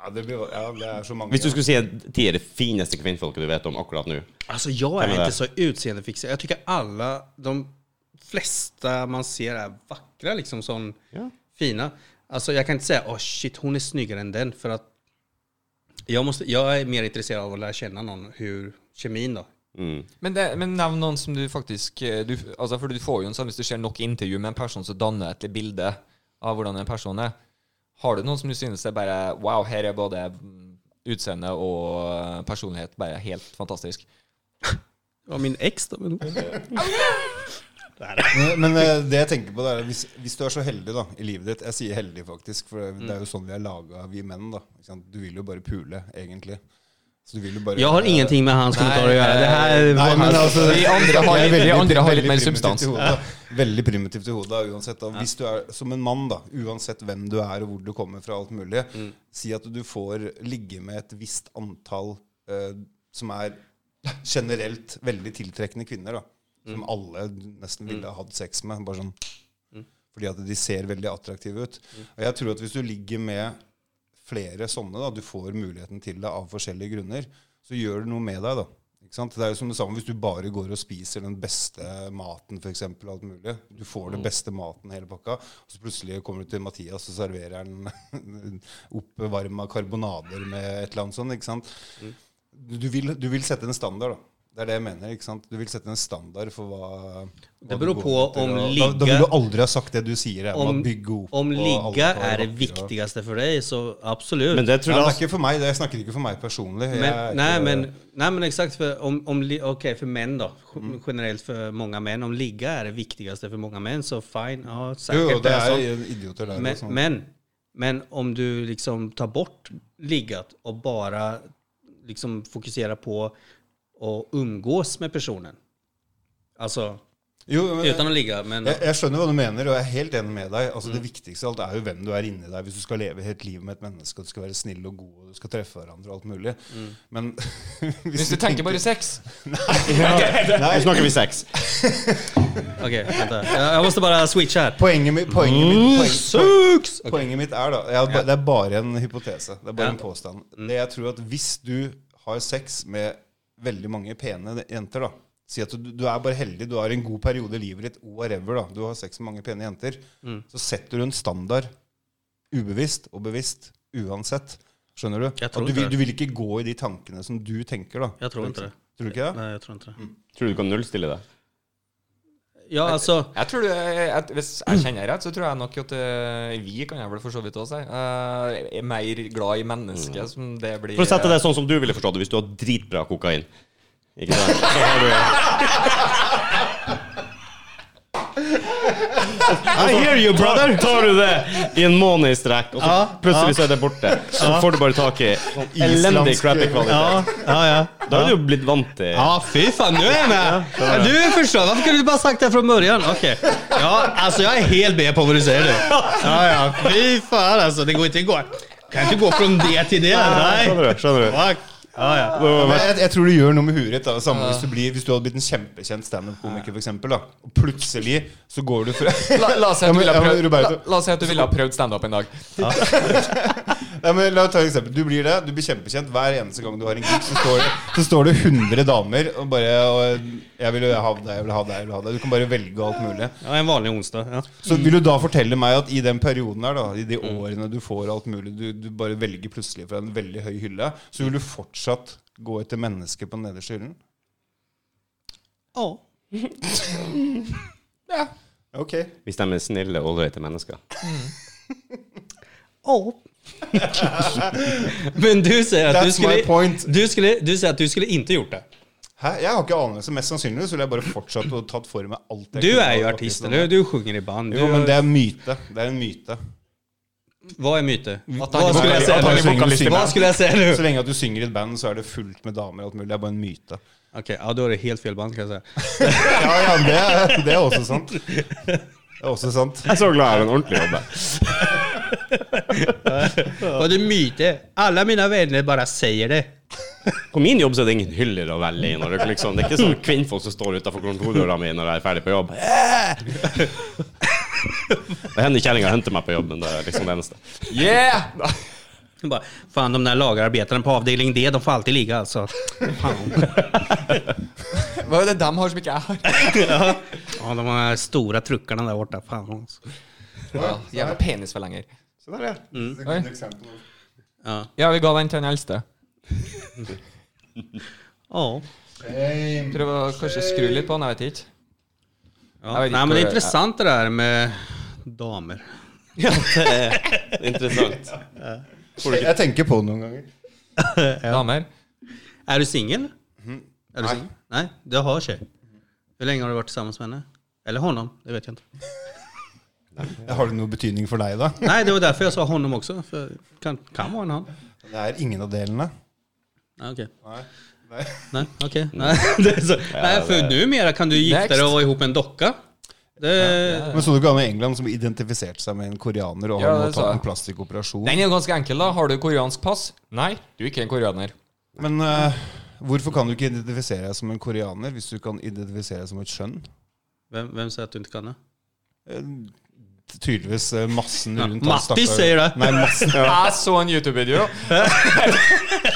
Speaker 2: ja, det blir, ja, det er så mange.
Speaker 4: Hvis du skulle si en tier det fineste kvinnfolket du vet om akkurat nå
Speaker 1: Alltså jag är
Speaker 4: men det-
Speaker 1: inte så utseendefixerad. Jag tycker alla, de flesta man ser är vackra liksom, sån
Speaker 4: Ja.
Speaker 1: fina. Alltså jag kan inte säga, åh shit, hon är snyggare än den, för att jag, måste, jag är mer intresserad av att lära känna någon, hur kemin då.
Speaker 4: mm.
Speaker 3: Men, det, men nevn noen som du faktisk eh, du, altså For du får jo en sånn hvis du ser nok intervju med en person, så danner et lite bilde av hvordan en person er. Har du noen som du synes er bare Wow, her er både mm, utseende og eh, personlighet bare helt fantastisk.
Speaker 1: Ja, min ex då? Men...
Speaker 2: Men, men eh, det jeg tenker på det er at hvis, hvis du er så heldig da, i livet ditt Jeg sier heldig, faktisk, for det, det er jo sånn vi er laga, vi menn. da ikke sant? Du vil jo bare pule, egentlig. Så du vil jo bare
Speaker 1: Jag har ingenting med hans kommentarer att göra. Det här
Speaker 2: Nei,
Speaker 1: var
Speaker 2: men
Speaker 1: hans...
Speaker 2: altså,
Speaker 3: Vi andre har
Speaker 2: jeg er
Speaker 3: litt- vi
Speaker 2: veldig-
Speaker 3: andre har litt
Speaker 2: veldig
Speaker 3: mer
Speaker 2: primitivt
Speaker 3: substans.
Speaker 2: i hodet, da. Veldig primitivt i hodet da, uansett. Da. Hvis du er som en mann, da, uansett hvem du er og hvor du kommer fra, alt mulig,
Speaker 3: Mm.
Speaker 2: si at du får ligge med et visst antall eh, som er generelt veldig tiltrekkende kvinner, da. Som
Speaker 3: Mm.
Speaker 2: alle nesten ville ha hatt sex med. Bare sånn fordi at de ser veldig attraktive ut.
Speaker 3: Mm.
Speaker 2: Og jeg tror at hvis du ligger med flere sånne, da, du får muligheten til det av forskjellige grunner, så gjør det noe med deg, da. Ikke Ikke sant? Det er jo som det samme hvis du bare går og spiser den beste maten, for eksempel, alt mulig. Du får
Speaker 1: Mm.
Speaker 2: den beste maten hele pakka, og så plutselig kommer du til Mathias og serverer han oppvarma karbonader med et eller annet sånt. Ikke sant?
Speaker 1: Mm.
Speaker 2: Du, vil, du vil sette en standard, da. Det er det jeg mener. ikke sant? Du vil sette en standard for hva hva
Speaker 1: Det
Speaker 2: du
Speaker 1: beror
Speaker 2: går
Speaker 1: på
Speaker 2: etter,
Speaker 1: om
Speaker 2: og da, da
Speaker 1: ligge-
Speaker 2: vil du aldri ha sagt det du sier. her,
Speaker 1: Om,
Speaker 2: om, å bygge opp
Speaker 1: om
Speaker 2: og
Speaker 1: ligga
Speaker 2: alter og
Speaker 1: er det
Speaker 2: vakker og-
Speaker 1: viktigste for deg, så absolutt.
Speaker 4: Men det tror
Speaker 2: Ja, det
Speaker 4: jeg
Speaker 2: er
Speaker 4: altså-
Speaker 2: ikke for meg, det, jeg snakker ikke for meg personlig. Jeg er
Speaker 1: Men, nej,
Speaker 2: ikke-
Speaker 1: men, nej, men exakt. För om, om, li- okej, för män då. Generellt för många män. Om ligga är det viktigaste för många män så fine. Ja, säkert.
Speaker 2: Jo, jo,
Speaker 1: det
Speaker 2: det
Speaker 1: är sånt.
Speaker 2: er idioter der.
Speaker 1: men,
Speaker 2: og sånn.
Speaker 1: men, men om du liksom tar bort liggat och bara liksom fokuserar på att umgås med personen. Alltså,
Speaker 2: jo, men,
Speaker 1: utan att ligga, men...
Speaker 2: jeg, jeg skjønner hva du mener, og jeg er helt enig med deg.
Speaker 1: Mm.
Speaker 2: Altså, Det viktigste av alt er jo hvem du er inni deg. Hvis du skal leve helt livet med et menneske, og du skal være snill og god, og du skal treffe hverandre og alt mulig.
Speaker 1: Mm.
Speaker 2: Men
Speaker 3: Hvis du tenker bare sex
Speaker 4: Nå snakker vi sex.
Speaker 1: Okej, vänta. Jag jag måste bara switcha här.
Speaker 2: Poenget mitt, poenget mitt, poenget,
Speaker 1: Mm, Sucks! Okej.
Speaker 2: Poenget mitt er da jeg, har ba- Det er bare en hypotese. Det er bare
Speaker 1: Ja. Mm.
Speaker 2: en påstand. Det jeg tror at Hvis du har sex med veldig mange pene jenter da Si at du, du er bare heldig, du har en god periode i livet ditt, whatever, da. Du har sex med mange pene jenter.
Speaker 1: Mm.
Speaker 2: Så setter du en standard ubevisst og bevisst uansett. Skjønner du?
Speaker 1: Jeg tror
Speaker 2: At du,
Speaker 1: ikke
Speaker 2: vil,
Speaker 1: det.
Speaker 2: du vil ikke gå i de tankene som du tenker, da.
Speaker 1: Jeg tror ikke det.
Speaker 2: Tror du ikke det?
Speaker 1: Nej, jag tror inte det.
Speaker 4: Tror du du kan nullstille det?
Speaker 1: Ja, alltså...
Speaker 3: Jeg tror du, jeg, Hvis jeg kjenner rett, så tror jeg nok at eh, vi kan jeg vel for så vidt også si, eh, er mer glad i mennesket
Speaker 2: Mm.
Speaker 3: som det blir
Speaker 4: For å sette det sånn som du ville forstått det, hvis du har dritbra kokain Ikke sant? Så har du I hear you, brother! Altså, Tar du det i en måned i strekk, og så plutselig så er det borte. Så får du bare tak i elendig
Speaker 2: islandsk-
Speaker 4: crappy kvalitet.
Speaker 1: ja, ja.
Speaker 4: Da er du jo blitt vant til
Speaker 1: Ja, fy fan, nu är jag med! Du förstår, varför kunde du bara sagt det från början? Okej. Ja, alltså jag är helt med på vad du säger nu. Ja, ja, fy fan altså, det går inte att gå. Kan inte gå från det till det.
Speaker 4: Skjønner
Speaker 1: Nej.
Speaker 4: du? skjønner du
Speaker 1: Fuck. Ja, ja.
Speaker 2: Ja, men jeg, jeg tror det gjør noe med huet ditt. da. Samme hvis, du blir, hvis du hadde blitt en kjempekjent standup-komiker, for eksempel, da. Og plutselig så går du fra
Speaker 3: La, la oss si
Speaker 2: Ja,
Speaker 3: at du
Speaker 2: men-
Speaker 3: ville ha
Speaker 2: ja, men
Speaker 3: prøvd, la,
Speaker 2: Roberto-
Speaker 3: la oss si at du ville ha prøvd standup en dag.
Speaker 2: Nei, men la meg ta et eksempel. Du blir det, du blir kjempekjent. Hver eneste gang du har en gig, så står det, så står det 100 damer og bare og, 'Jeg vil ha deg, jeg vil ha deg, jeg vil ha deg'. Du kan bare velge alt mulig.
Speaker 1: Ja, en vanlig onsdag. Ja.
Speaker 2: Så vil du da fortelle meg at i den perioden her, da, i de
Speaker 1: Mm.
Speaker 2: årene du får alt mulig, du, du bare velger plutselig fra en veldig høy hylle, så vil du fortsatt gå etter mennesket på den nederste hyllen?
Speaker 1: Ja.
Speaker 2: Ok.
Speaker 4: Hvis de er snille og ålreite mennesker.
Speaker 1: Men du säger att du
Speaker 2: That's my
Speaker 1: skulle,
Speaker 2: point.
Speaker 1: du skulle, du säger att du skulle inte gjort det.
Speaker 2: Hæ? Jeg har ikke anelse. Mest sannsynlig så ville jeg bare fortsatt og tatt for meg alt jeg
Speaker 1: Du
Speaker 2: kunne
Speaker 1: är ju
Speaker 2: av
Speaker 1: artist,
Speaker 2: artistene.
Speaker 1: eller hur? Du sjunger i band.
Speaker 2: Jo, men
Speaker 1: Du,
Speaker 2: det er myte. Det er en myte.
Speaker 1: vad är myte?
Speaker 3: han
Speaker 1: Vad
Speaker 3: ikke
Speaker 1: skulle jag
Speaker 3: var-
Speaker 1: säga
Speaker 3: att han
Speaker 2: ikke var
Speaker 1: nu?
Speaker 2: vokalist i
Speaker 1: Vad
Speaker 2: band.
Speaker 1: skulle jag säga nu?
Speaker 2: Så lenge at du synger i et band, så er det fullt med damer og alt mulig. Det er bare en myte.
Speaker 1: Okej, ja, då är det helt fel band kan jag säga.
Speaker 2: Ja, ja, det er, det er også sant. Det er også sant.
Speaker 4: Jeg er så glad jeg har en ordentlig jobb. jeg.
Speaker 1: Och det är myte. Alla mina vänner bara säger det.
Speaker 4: På min jobb så er det ingen hyller å velge i. Når det, liksom, det er ikke sånn kvinnfolk som står utafor kontordøra mi når jeg er ferdig på jobb. Det hender kjerringa henter meg på jobben. Det er liksom det eneste.
Speaker 3: Yeah!
Speaker 1: De Bara, Fan, de där lagarbetarna på avdelning D, de får alltid ligga alltså.
Speaker 3: Hva er det de har som ikke jeg har?
Speaker 1: Ja, de här stora truckarna där borta. Fan alltså.
Speaker 3: Ja, Jævla penisforlenger.
Speaker 2: Så der, ja.
Speaker 3: Mm.
Speaker 2: Det er et godt eksempel.
Speaker 1: Ja.
Speaker 3: Ja, vi ga den til den eldste.
Speaker 1: Ja.
Speaker 2: Shame.
Speaker 3: Prøv å kanskje skru litt på den, jeg vet ikke.
Speaker 1: ja.
Speaker 3: Jag
Speaker 1: Nej,
Speaker 3: vet
Speaker 1: men
Speaker 3: inte
Speaker 1: det är
Speaker 3: vad-
Speaker 1: intressant det där med damer.
Speaker 4: Ja, det er interessant.
Speaker 2: Jeg tenker på det noen ganger.
Speaker 3: Damer.
Speaker 1: Är du singel?
Speaker 3: Mm.
Speaker 1: Är du singel? Nej, du har tjej. Hur länge har du varit tillsammans med henne? Eller honom, det vet jag inte.
Speaker 2: Har det noe betydning for deg, da?
Speaker 1: Nej, det var därför jag sa honom också. För det kan, kan vara en han.
Speaker 2: Det er ingen av delene.
Speaker 1: Nej, okej.
Speaker 2: Nei. Nei.
Speaker 1: Nej, okej. Nej, det är så. Nej, för numera kan du gifta dig
Speaker 3: Next.
Speaker 1: och vara ihop med en docka. Det,
Speaker 2: Men Så du ikke han i England som identifiserte seg med en koreaner og
Speaker 3: Ja,
Speaker 2: har nå
Speaker 3: det sa
Speaker 2: tatt
Speaker 3: jeg.
Speaker 2: en plastikkoperasjon?
Speaker 3: Den er jo ganske enkel, da. Har du koreansk pass? Nei, du er ikke en koreaner.
Speaker 2: Men eh, hvorfor kan du ikke identifisere deg som en koreaner hvis du kan identifisere deg som et skjønn?
Speaker 1: Vem, vem säger att du inte kan det?
Speaker 2: Tydeligvis eh, massen rundt
Speaker 1: Mattis sier det.
Speaker 2: Nei, massen,
Speaker 3: Jeg så en YouTube-video. Jeg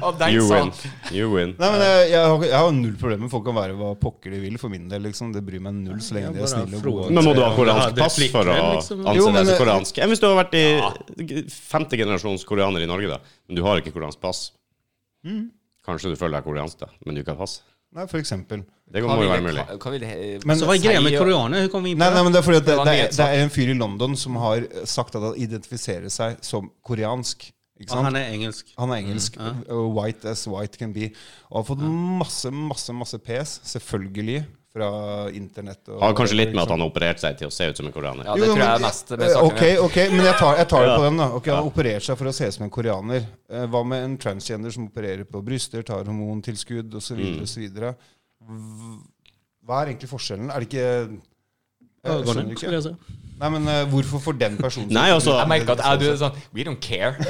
Speaker 3: Ja, den
Speaker 4: You
Speaker 3: sa
Speaker 4: win.
Speaker 3: han.
Speaker 4: You win.
Speaker 2: Nei, men jeg, jeg, har, jeg har null problem med folk kan være hva pokker de vil for min del. liksom. Det bryr meg null så lenge de er snille og gode.
Speaker 4: Men må du ha
Speaker 1: Ja,
Speaker 4: koreansk
Speaker 1: det er
Speaker 4: pass for å
Speaker 1: plikten, liksom.
Speaker 4: anse
Speaker 2: Jo, men-
Speaker 4: deg som koreansk? Enn hvis du har vært i g- femte generasjons koreaner i Norge, da, men du har ikke koreansk pass?
Speaker 1: Mm.
Speaker 4: Kanskje du føler deg koreansk, da, men du ikke har pass?
Speaker 2: Nei, for eksempel.
Speaker 4: Det
Speaker 3: Hva
Speaker 4: må jo
Speaker 3: vil-
Speaker 4: være mulig.
Speaker 3: hva- Hva vil det
Speaker 2: Men-
Speaker 1: Så hva er greia med
Speaker 3: Sier-
Speaker 1: koreanere? Hur kom vi in på
Speaker 2: Nei, nei,
Speaker 1: det?
Speaker 2: men det er fordi at det,
Speaker 3: Det var
Speaker 2: det, er, det
Speaker 3: nyhetssak.
Speaker 2: er en fyr i London som har eh, sagt at han identifiserer seg som koreansk. ikke
Speaker 1: Ja,
Speaker 2: sant?
Speaker 1: han er engelsk.
Speaker 2: Han er engelsk. uh, White as white can be. Og har fått masse, masse masse pes, selvfølgelig, fra internett. Og,
Speaker 4: Har kanskje litt med
Speaker 2: liksom-
Speaker 4: at han har operert seg til å se ut som en koreaner.
Speaker 3: Ja, det
Speaker 2: Jo,
Speaker 3: tror jeg er
Speaker 2: men- eh,
Speaker 3: mest med saken.
Speaker 2: Ok, ok, men jeg tar, jeg tar det på den. da Ok, Han opererer seg for å se ut som en koreaner. Eh, Hva med en transgender som opererer på bryster, tar hormontilskudd osv.?
Speaker 4: Mm.
Speaker 2: videre Hva er egentlig forskjellen? Er det ikke jeg skjønner
Speaker 1: Ögonen, skulle
Speaker 2: ikke.
Speaker 1: jag säga.
Speaker 2: Nei, men eh, Hvorfor får den personen
Speaker 4: Nei, altså
Speaker 3: Jeg merker at jeg, du er sånn We don't care.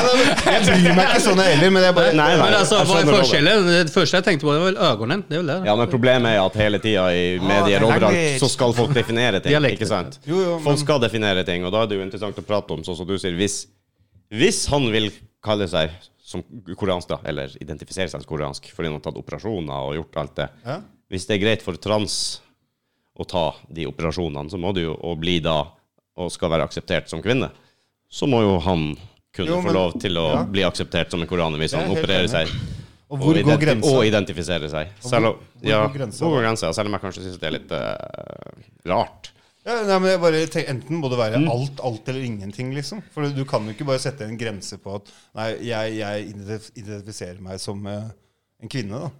Speaker 2: Jeg bryr meg ikke sånn jeg heller, men jeg bare
Speaker 4: Nei, nei,
Speaker 1: Men alltså,
Speaker 4: jeg
Speaker 1: vad är
Speaker 4: skjønner det.
Speaker 1: forskjellen? Det första jag tänkte på det var väl ögonen. Det är väl det.
Speaker 4: Ja, men problemet er at hele tida i medier
Speaker 3: Ah,
Speaker 4: overalt
Speaker 3: language.
Speaker 4: så skal folk definere ting.
Speaker 1: Dialekt.
Speaker 4: ikke sant?
Speaker 2: Jo, jo, men-
Speaker 4: Folk skal definere ting, og da er det jo interessant å prate om, sånn som du sier, hvis, hvis han vil kalle seg som koreansk, da, eller identifisere seg som koreansk fordi han har tatt operasjoner og gjort alt det
Speaker 2: Ja.
Speaker 4: Hvis det er greit for trans å ta de operasjonene, så må du jo og bli da og skal være akseptert som kvinne, så må jo han kunne
Speaker 2: Jo, men-
Speaker 4: få lov til å
Speaker 2: ja.
Speaker 4: bli akseptert som en koreaner hvis
Speaker 2: Jeg er
Speaker 4: han
Speaker 2: helt
Speaker 4: opererer
Speaker 2: enig.
Speaker 4: seg.
Speaker 2: Og hvor går
Speaker 4: identi-
Speaker 2: grensa?
Speaker 4: Og identifisere seg. Selv om,
Speaker 2: hvor
Speaker 4: ja,
Speaker 2: går grensa,
Speaker 4: hvor
Speaker 2: da?
Speaker 4: går grensa? Selv om jeg kanskje syns det er litt eh, rart.
Speaker 2: Ja, nei, men jeg bare tenker, Enten må det være
Speaker 4: Mm.
Speaker 2: alt, alt eller ingenting, liksom. For du kan jo ikke bare sette en grense på at Nei, jeg, jeg identif- identifiserer meg som eh, en kvinne, da.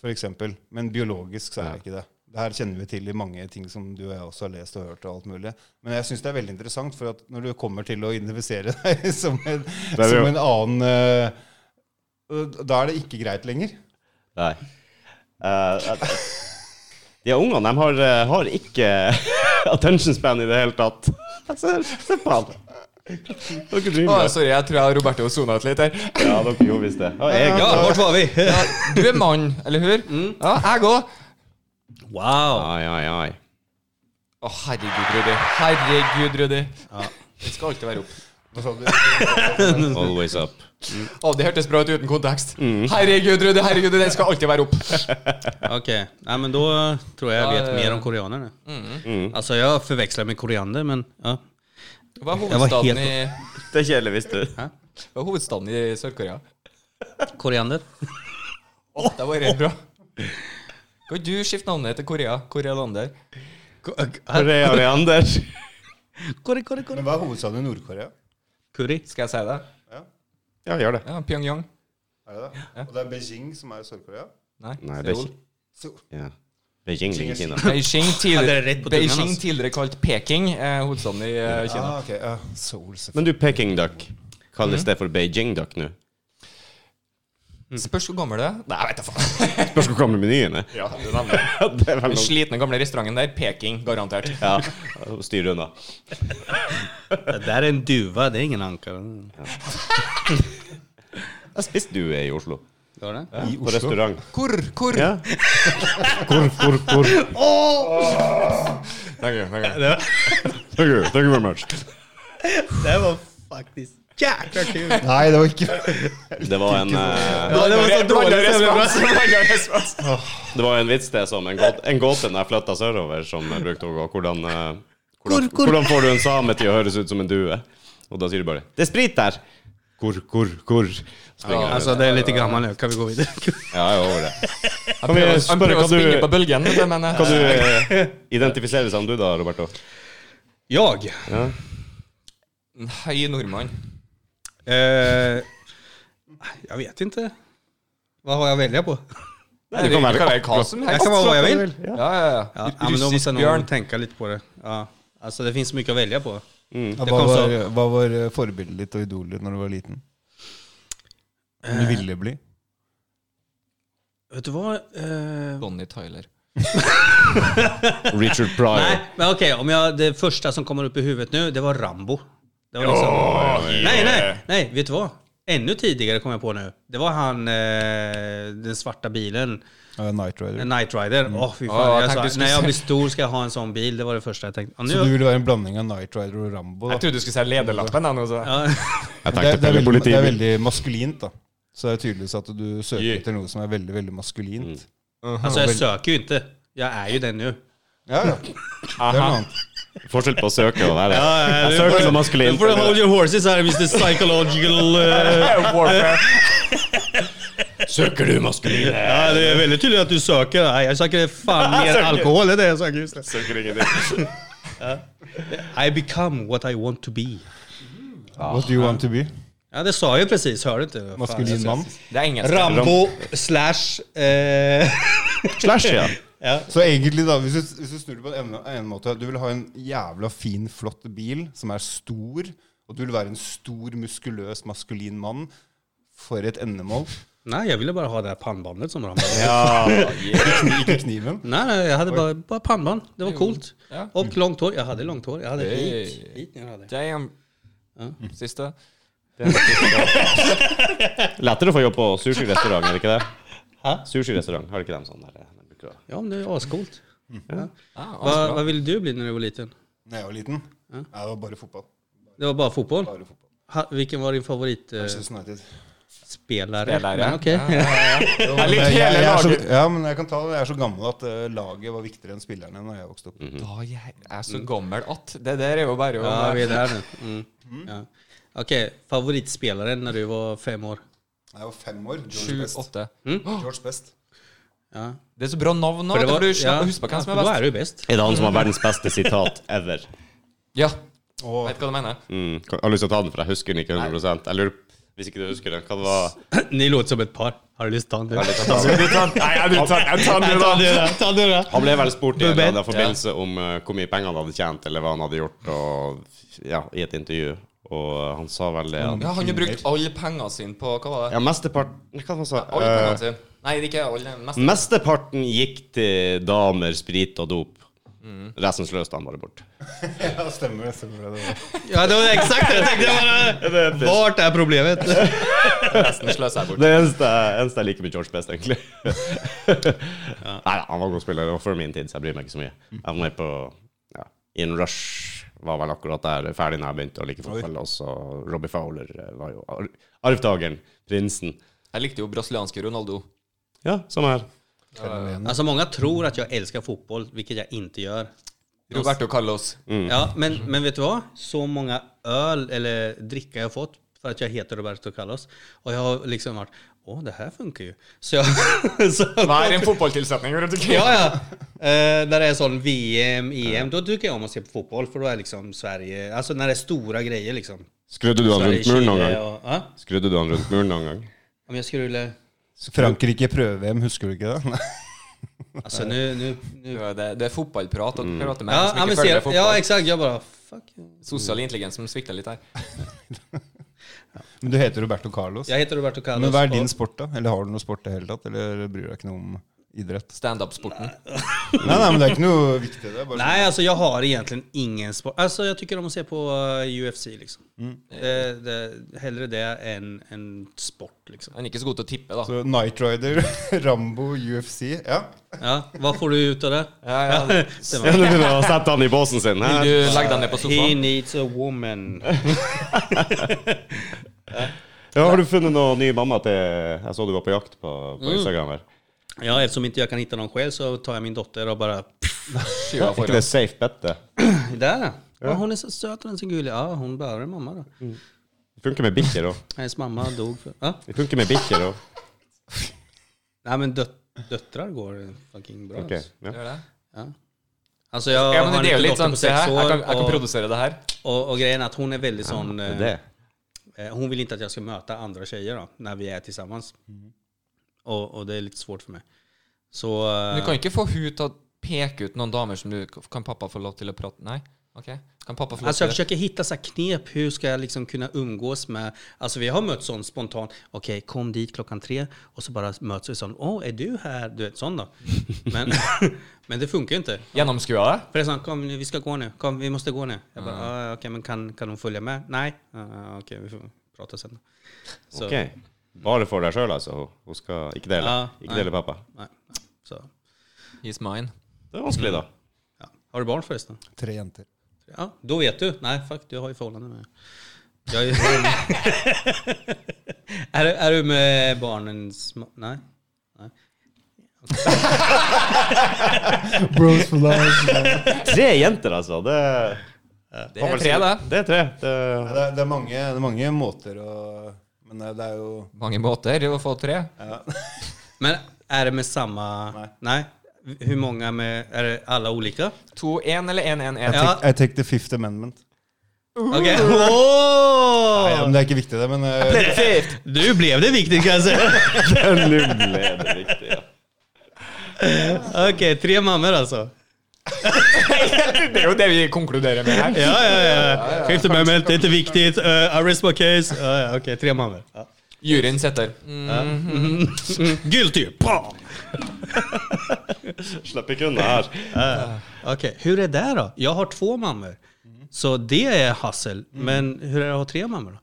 Speaker 2: For eksempel. Men biologisk så er jeg ikke det. Det her kjenner vi til i mange ting som du og jeg også har lest og hørt. og alt mulig. Men jeg syns det er veldig interessant, for at når du kommer til å identifisere deg som en,
Speaker 4: er jo-
Speaker 2: som en annen eh, Da er det ikke greit lenger.
Speaker 4: Nei. Eh, eh, de ungene de har, eh, har ikke attention span i det hele tatt. Se, se på han. Dere driver
Speaker 3: Å,
Speaker 4: med
Speaker 3: sorry, jeg tror jeg og Roberto sona ut litt her.
Speaker 4: Ja, dere gjorde visst det. Og jeg,
Speaker 1: Ja, vart var vi?
Speaker 3: Ja, du er mann, eller hur?
Speaker 1: Mm.
Speaker 3: Ja, jeg òg.
Speaker 1: Wow.
Speaker 4: Ai, ai, ai.
Speaker 3: Å, herregud, Rudi. Herregud, Rudi. Det skal alltid være opp.
Speaker 2: Hva sa du?
Speaker 4: Always up.
Speaker 3: Å, det hørtes bra ut uten kontekst.
Speaker 1: Mm.
Speaker 3: Herregud, Rudi. Herregud, det skal alltid være opp.
Speaker 1: Okej. Nej, men då tror jag jag vet
Speaker 3: Ja, ja, ja.
Speaker 1: mer om Mm. koreaner nu. Alltså, jag förväxlar med koriander, men ja.
Speaker 3: Hva er
Speaker 1: Jeg var
Speaker 3: hovedstaden
Speaker 1: helt-
Speaker 3: i,
Speaker 4: Det er kjedelig, visste du.
Speaker 3: hva er hovedstaden i Sør-Korea?
Speaker 1: Koriander.
Speaker 3: Å, det var rett bra. Kan du skifte navnet til Korea? Korealander?
Speaker 4: Kore Ariander.
Speaker 1: Kori, kori, kori.
Speaker 2: Men hva er hovedstaden i Nord-Korea?
Speaker 1: Curry.
Speaker 3: Skal jeg si det?
Speaker 2: Ja,
Speaker 4: Ja, gjør det.
Speaker 3: Ja, Pyongyang?
Speaker 2: er det det? Og det er Beijing som er i Sør-Korea?
Speaker 3: Nei,
Speaker 4: Nei, det er
Speaker 3: Seoul.
Speaker 4: ikke ja. Beijing ligger i Kina.
Speaker 3: Beijing,
Speaker 1: Ja, det er
Speaker 3: tidligere,
Speaker 1: rett på tungen,
Speaker 3: Beijing
Speaker 1: altså.
Speaker 3: tidligere kalt Peking, eh, hovedstaden i eh, Kina.
Speaker 2: Ah, ok, ja. Seoul, selvfølgelig.
Speaker 4: Men du, Peking duck, kalles det for Beijing duck nå?
Speaker 3: Spørs hvor gammel det er. Nei, jeg vet da faen.
Speaker 4: Spørs hvor gamle menyen er.
Speaker 3: Ja, det er nemlig.
Speaker 4: Det er vel
Speaker 3: Den
Speaker 4: noe.
Speaker 3: slitne gamle restauranten der, Peking, garantert.
Speaker 4: Ja, styr unna.
Speaker 1: Det där är en duva, det är ingen anka. Ja.
Speaker 4: Jeg spiste du i Oslo.
Speaker 1: Gör det?
Speaker 4: I På restaurant.
Speaker 3: Hvor, hvor?
Speaker 4: Ja. Hvor, hvor, hvor.
Speaker 3: Thank you, thank you.
Speaker 4: Thank you, thank you very much.
Speaker 1: Det var faktiskt jäkla kul.
Speaker 2: Nei, det var ikke
Speaker 4: Det var en, eh,
Speaker 1: Ja, det var
Speaker 2: sånn
Speaker 1: så dålig
Speaker 3: respons.
Speaker 1: stämning.
Speaker 3: Blanda respons.
Speaker 4: det var en vits det som en gåte, en gåte når jeg flytta sørover, som jeg brukte å gå. Hvordan, eh, hvordan,
Speaker 1: Hvor, hvor?
Speaker 4: hvordan får du en same til å høres ut som en due? Og da sier du bare 'Det er sprit der'. Hvor, hvor, hvor? Springer jeg
Speaker 1: Alltså,
Speaker 4: rundt.
Speaker 1: Altså, det är lite gammal nu. Kan vi gå vidare?
Speaker 4: Ja, jeg er over det.
Speaker 3: Jeg
Speaker 4: Kan vi
Speaker 3: prøver å- jeg
Speaker 4: spørre
Speaker 3: prøver
Speaker 4: hva
Speaker 3: å springe på
Speaker 4: du,
Speaker 3: bølgen, vet du, men eh,
Speaker 4: hva du eh, identifiserer som du, da, Roberto?
Speaker 1: Jag?
Speaker 4: Ja.
Speaker 3: en høy nordmann.
Speaker 1: Eh, jag vet inte. Vad har jag att välja på?
Speaker 4: Nei, du kan være
Speaker 3: hva som
Speaker 1: Jag kan
Speaker 3: helst.
Speaker 1: vara vad jag vill.
Speaker 3: Ja, ja, ja.
Speaker 1: Ja, ja, men då måste
Speaker 3: Russisk
Speaker 1: jag
Speaker 3: bjørn.
Speaker 1: nog tänka lite på det. Ja, alltså det finns mycket att välja på.
Speaker 2: ja,
Speaker 1: Det
Speaker 2: hva,
Speaker 1: kom så-
Speaker 2: var, hva var eh, forbildet ditt og idolet ditt når du var liten?
Speaker 1: Eh.
Speaker 2: Om du ville bli?
Speaker 1: Vet du vad? Eh,
Speaker 3: Bonnie Tyler.
Speaker 4: Richard Pryor.
Speaker 1: nej, men okej. om jag, det första som kommer upp i huvudet nu, det var Rambo. Det var liksom, Nej, nej, nej. Vet du vad? Ännu tidigare kom jag på nu. Det var han, eh, den svarta bilen,
Speaker 2: Uh, Night Rider.
Speaker 1: Night Rider. Åh fy fan.
Speaker 3: Ja, jag tänkte
Speaker 1: Mm. jag
Speaker 3: du
Speaker 1: sa,
Speaker 3: skulle
Speaker 1: när jag
Speaker 3: säga-
Speaker 1: blir stor ska jag ha en sån bil. Det var det första jeg tenkte. Ja, nu-
Speaker 2: Så du ville være en blanding av Night Rider og Rambo?
Speaker 3: Jeg
Speaker 2: Da.
Speaker 3: trodde du skulle si lederlappen. jeg, nå, så.
Speaker 1: ja.
Speaker 2: Det,
Speaker 4: Jeg
Speaker 2: er-
Speaker 4: tenkte
Speaker 2: det, er
Speaker 4: på
Speaker 2: veldig, det er
Speaker 4: politibil.
Speaker 2: veldig maskulint, da. Så det er tydeligvis at du søker
Speaker 4: Yeah. Mm.
Speaker 2: etter noe som er veldig veldig maskulint.
Speaker 1: Alltså jag söker ju inte. Jag är ju det nu.
Speaker 2: Ja, ja. Det er noe annet.
Speaker 4: Forskjell på å søke og være. Jeg
Speaker 1: du
Speaker 4: søker
Speaker 1: får-
Speaker 4: som maskulin.
Speaker 1: du får hold your horses här Mr. Psychological. eh.
Speaker 4: Søker du maskulin?
Speaker 1: Ja, det är väldigt tydligt att du söker. Nej, jag söker fan mer alkohol än det jag söker just det.
Speaker 4: Søker ingenting.
Speaker 1: I become what I want to be.
Speaker 2: What do you want to be?
Speaker 1: Ja, det sa jag ju precis. Hör du inte? Fan,
Speaker 2: Maskulin
Speaker 1: jag-
Speaker 2: mann?
Speaker 3: Det er engelsk.
Speaker 1: Rambo slash... Eh,
Speaker 4: Slash, ja.
Speaker 1: ja.
Speaker 2: Så egentlig, da, hvis du, hvis du snur det på en, enda- en måte Du vil ha en jævla fin, flott bil som er stor, og du vil være en stor, muskuløs, maskulin mann. For et endemål.
Speaker 1: Nej, jag ville bara ha det här pannbandet som Rambo.
Speaker 2: Ikke, kni, ikke kniven.
Speaker 1: Nej, nej, jag hade bara, bara pannband. Det var coolt.
Speaker 3: Ja.
Speaker 1: Och långt hår. Jag hade långt hår. Jag hade
Speaker 3: Hey.
Speaker 1: hit. hit jag hade.
Speaker 3: Damn. Siste.
Speaker 4: Lettere å få jobb på sushirestaurant, er det ikke det?
Speaker 1: Hæ?
Speaker 4: Sushirestaurant, har ikke de sånn der? de bruker å-
Speaker 1: Ja, men det är ascoolt. Ja.
Speaker 3: Ah,
Speaker 1: Vad
Speaker 3: altså bra.
Speaker 1: vad ville du bli när du var liten?
Speaker 2: Da jeg var liten. Nei, det var bare fotball.
Speaker 1: Det var bara fotboll?
Speaker 2: Bare fotball.
Speaker 1: Ha, vilken var din favoritspelare?
Speaker 2: Manchester United.
Speaker 1: spelare?
Speaker 3: Spelare.
Speaker 1: Men okej.
Speaker 2: Men
Speaker 3: likte
Speaker 2: jeg-
Speaker 3: hele
Speaker 2: jeg er så-
Speaker 3: laget.
Speaker 2: Ja, men jeg kan ta det. Jeg er så gammel at eh, laget var viktigere enn spillerne når jeg vokste opp.
Speaker 3: Da jeg er så gammel at Det der er jo bare å
Speaker 1: Ja, vi är där nu. Mm. Ja. Okej, favoritspelaren når du var fem år?
Speaker 2: Jeg var fem år. George Best.
Speaker 3: Sju-åtte.
Speaker 2: George Best.
Speaker 1: Ja.
Speaker 3: Det er så bra navn nå.
Speaker 1: For det var-
Speaker 3: Du
Speaker 1: ja.
Speaker 3: slipper å huske på hvem som
Speaker 1: Ja,
Speaker 3: er
Speaker 1: for Da
Speaker 3: best.
Speaker 1: er du bäst.
Speaker 4: Er det han som har verdens beste sitat ever?
Speaker 3: Ja,
Speaker 2: Og
Speaker 3: vet hva du mener.
Speaker 4: Mm. Jeg har lyst til å ta den, for jeg husker den ikke 100 Jeg lurer hvis ikke du husker den, hva det var
Speaker 1: Ni låter som et par. Har du lyst til å ta den? du?
Speaker 4: Nei, jeg tar den
Speaker 1: Ta den, da. Ta den, da.
Speaker 4: Han ble vel spurt i en
Speaker 1: Bubben.
Speaker 4: eller annen forbindelse om eh, hvor mye penger han hadde tjent, eller hva han hadde gjort, og ja, i et intervju. Og eh, han sa vel det at
Speaker 3: Ja, Han har brukt alle pengene sine på Hva var det?
Speaker 4: Ja, mesteparten Hva var det han sa?
Speaker 3: Alle pengene
Speaker 4: Eh,
Speaker 3: sine. Nei, det er ikke alle. Mest.
Speaker 4: mesteparten gikk til damer, sprit og dop. Resten sløste han bare bort.
Speaker 2: ja, stemmer det. stemmer det, det var.
Speaker 1: Ja, det var exakt det jag tänkte. Jag bara, Vart är problemet?
Speaker 3: Resten sløser jeg bort.
Speaker 4: Det eneste, eneste jeg liker med George Best, egentlig. Nei, han var god spiller, og for min tid, så jeg bryr meg ikke så mye. Jeg var med på ja, In Rush, var vel akkurat der ferdig når jeg begynte å like fotball. Og så Robbie Fowler eh, var jo ar- arvtakeren, prinsen.
Speaker 3: Jeg likte jo brasilianske Ronaldo.
Speaker 4: Ja, sånn her.
Speaker 1: Alltså många Altså, tror att jag älskar fotboll, vilket jag inte gör.
Speaker 3: Roberto Carlos.
Speaker 1: Ja, men, men vet du vad? Så många öl eller dricka jag fått för att jag heter Roberto Carlos. Och jag har liksom varit, åh det här funkar ju. Så jag... så,
Speaker 3: Hva er en fotballtilsetning? rundt omkring?
Speaker 1: ja, ja. Eh, när det är sån VM, EM, då tycker jag om att se på fotboll. För då är liksom Sverige, alltså när det är stora grejer liksom.
Speaker 4: Skrudde du han
Speaker 1: Sverige,
Speaker 4: rundt muren noen
Speaker 1: Chile
Speaker 4: gang?
Speaker 1: och... Ja?
Speaker 4: Skrudde du han rundt muren noen gang?
Speaker 1: Om jag skulle...
Speaker 2: Frankrike prøve-VM, husker du ikke det? Nei.
Speaker 1: Alltså nu... nu, nu.
Speaker 3: Det, er- det er fotballprat. Og du prater med
Speaker 1: Ja,
Speaker 3: en
Speaker 1: ja,
Speaker 3: som
Speaker 1: men
Speaker 3: ikke følger
Speaker 1: ser,
Speaker 3: med
Speaker 1: ja,
Speaker 3: fotball.
Speaker 1: exakt. Jag bara, fuck.
Speaker 3: Sosial intelligens som svikter litt her.
Speaker 2: Men du heter Roberto Carlos.
Speaker 1: Jag heter Roberto Carlos.
Speaker 2: Men hva er
Speaker 1: och-
Speaker 2: din sport, da? Eller har du noe sport i det hele tatt? Eller bryr du deg ikke noe om idrett?
Speaker 3: Standup-sporten.
Speaker 2: Nei, nei, men det er ikke noe viktig. Det er bare
Speaker 1: Nej, alltså jag har egentligen ingen sport. Alltså jag tycker om att se på eh, UFC liksom.
Speaker 2: Mm.
Speaker 1: Det, det, hellre det än en sport liksom.
Speaker 3: Han er ikke så god til å tippe, da.
Speaker 2: Så Knight Rider, Rambo, UFC Ja.
Speaker 1: Ja, vad får du ut av det?
Speaker 3: Ja, ja.
Speaker 1: Det
Speaker 4: Ja,
Speaker 1: var-
Speaker 4: du begynner å sette han i båsen sin.
Speaker 3: Vil
Speaker 4: Her.
Speaker 3: du legge deg ned på
Speaker 1: He
Speaker 3: sofaen?
Speaker 1: needs a woman.
Speaker 4: Ja, har du funnet noen ny mamma til Jeg så du var på jakt på,
Speaker 3: Mm.
Speaker 4: på Instagram her.
Speaker 1: Ja, eftersom inte jag kan hitta någon själv så tar jag min dotter och bara...
Speaker 3: Skyver
Speaker 4: Ikke det
Speaker 3: foran.
Speaker 4: safe bet, det?
Speaker 1: Där! Ja, hon är så söt och den så gullig. Ja, hon bär en mamma då.
Speaker 3: Mm.
Speaker 4: Det Funker med bikkjer òg.
Speaker 1: Hennes mamma dog för... Ja.
Speaker 4: Det funker med bikkjer òg.
Speaker 1: Nej men döt, döttrar går fucking bra.
Speaker 4: Ok,
Speaker 1: Alltså.
Speaker 4: ja.
Speaker 3: Gjør det?
Speaker 1: Alltså jag
Speaker 3: Ja,
Speaker 1: har
Speaker 3: men
Speaker 1: en
Speaker 3: det er jo
Speaker 1: liten
Speaker 3: litt
Speaker 1: dotter
Speaker 3: sånn
Speaker 1: på
Speaker 3: Se
Speaker 1: sex
Speaker 3: her, jeg
Speaker 1: år
Speaker 3: kan, jeg kan
Speaker 1: och,
Speaker 3: produsere det her.
Speaker 1: och, och grejen är att hon är väldigt sån...
Speaker 4: Det
Speaker 1: eh,
Speaker 4: er det.
Speaker 1: Eh, Hon vill inte att jag ska möta andra tjejer då, när vi är tillsammans.
Speaker 3: Mm.
Speaker 1: Och, och det är lite svårt för mig. Så... eh,
Speaker 3: Men Du kan ikke få hun til å peke ut noen damer som du Kan pappa få lov til å prate Nei? Ok. Kan pappa få lov
Speaker 1: Alltså jag
Speaker 3: til å
Speaker 1: försöker hitta så här knep, hur ska jag liksom kunna umgås med... Alltså vi har mött sån spontan, okej kom dit klockan tre och så bara möts vi sån, åh är du här? Du vet sån då. Men, men det funkar ju inte.
Speaker 3: gjennomskue deg?
Speaker 1: För det är sån, kom nu, vi ska gå nu, kom vi måste gå nu. Jag bara, ah, okej men kan, kan hon följa med? Nej, ah, okej vi får prata sen. Så,
Speaker 4: Ok. Bare for deg sjøl, altså. Hun- Hun skal ikke dele.
Speaker 1: Ja,
Speaker 4: ikke
Speaker 1: nei.
Speaker 4: dele pappa.
Speaker 1: nej, så.
Speaker 3: He's mine.
Speaker 4: Det er vanskelig, da.
Speaker 3: Mm.
Speaker 1: Ja. Har du barn förresten?
Speaker 2: Tre jenter.
Speaker 1: Ja, då vet du. Nej, fuck, du har ju förhållanden med Jag är, är, du- är du med barnens... ma- Nej? Nej.
Speaker 2: Bros for life.
Speaker 4: Tre jenter, altså. Det,
Speaker 3: Det er tre, det.
Speaker 4: det er tre. Det,
Speaker 2: Ja, det, er- det, er mange, det er mange måter å Men eh, det er jo
Speaker 3: Mange måter å få tre.
Speaker 1: Men är det med samma... Nej. Hur många med... Är det alla olika?
Speaker 3: 2-1 eller 1-1-1?
Speaker 1: Ja.
Speaker 2: I take the fifth amendment.
Speaker 1: Okej.
Speaker 2: Nei, ja,
Speaker 1: Åh!
Speaker 2: men det er ikke viktig, det. Men eh,
Speaker 1: Nu blev det viktigt kan jag säga.
Speaker 4: Null er det viktige.
Speaker 1: Okej, tre mammor alltså.
Speaker 3: Det er jo det vi konkluderer med her.
Speaker 1: Ja, ja, ja. Skifta med mig, det är inte viktigt. Uh, arrest my case. Ja, ja, Okej, tre mammor. Ja.
Speaker 3: Juryen sitter. Mm.
Speaker 1: Mm, guilty! Bam!
Speaker 4: Slipper ikke unna her.
Speaker 1: Okej, hur är det då? Jag har två mammor. Så det är hassel. Men hur är det att ha tre mammor då?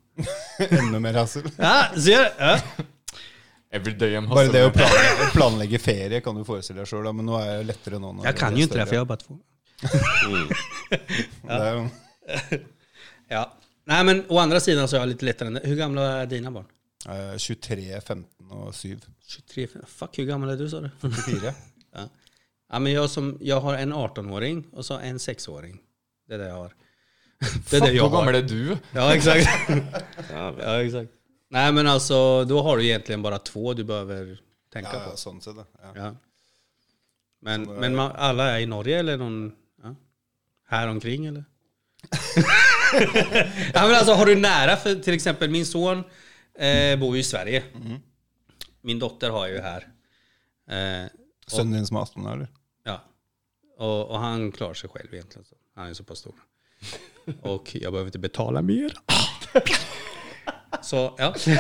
Speaker 2: enda mer hassel.
Speaker 1: Ja, ser ja.
Speaker 3: Every day I'm
Speaker 2: Bare det å
Speaker 3: hustling.
Speaker 2: planlegge, planlegge ferie kan du forestille deg sjøl, da. Men nå er det lettere nå. når
Speaker 1: Jag
Speaker 2: det
Speaker 1: kan
Speaker 2: blir
Speaker 1: ju inte det för
Speaker 2: større.
Speaker 1: jag har bara två.
Speaker 2: Det er jo-
Speaker 1: Ja. Nej, men å andra sidan så är jag lite lättare än det. Hur gamla är dina barn?
Speaker 2: eh, 23, 15 og 7.
Speaker 1: 23, fuck hur gammal är du sa du?
Speaker 2: 24.
Speaker 1: ja. ja, men jag, som, jag har en 18-åring och så en 6-åring. Det är det jag har. Det är
Speaker 3: Fuck,
Speaker 1: det jag
Speaker 3: hvor
Speaker 1: har.
Speaker 3: gammel er du?
Speaker 1: Ja, exakt.
Speaker 4: Ja, vel.
Speaker 1: ja, exakt. Nej, men alltså då har du egentligen bara två du behöver tänka
Speaker 2: Ja, ja,
Speaker 1: på.
Speaker 2: sånn sett, ja.
Speaker 1: Ja. Men, men man, alla är i Norge eller någon ja. här omkring eller? ja, men alltså, har du nära för till exempel min son eh, bor ju i Sverige.
Speaker 2: Mm.
Speaker 1: Min dotter har ju här. Eh,
Speaker 2: Sønnen din som er 18 år, eller?
Speaker 1: ja. och, och han klarar sig själv egentligen. Så. Han är så pass stor. Och jag behöver inte betala mer. Så ja. Så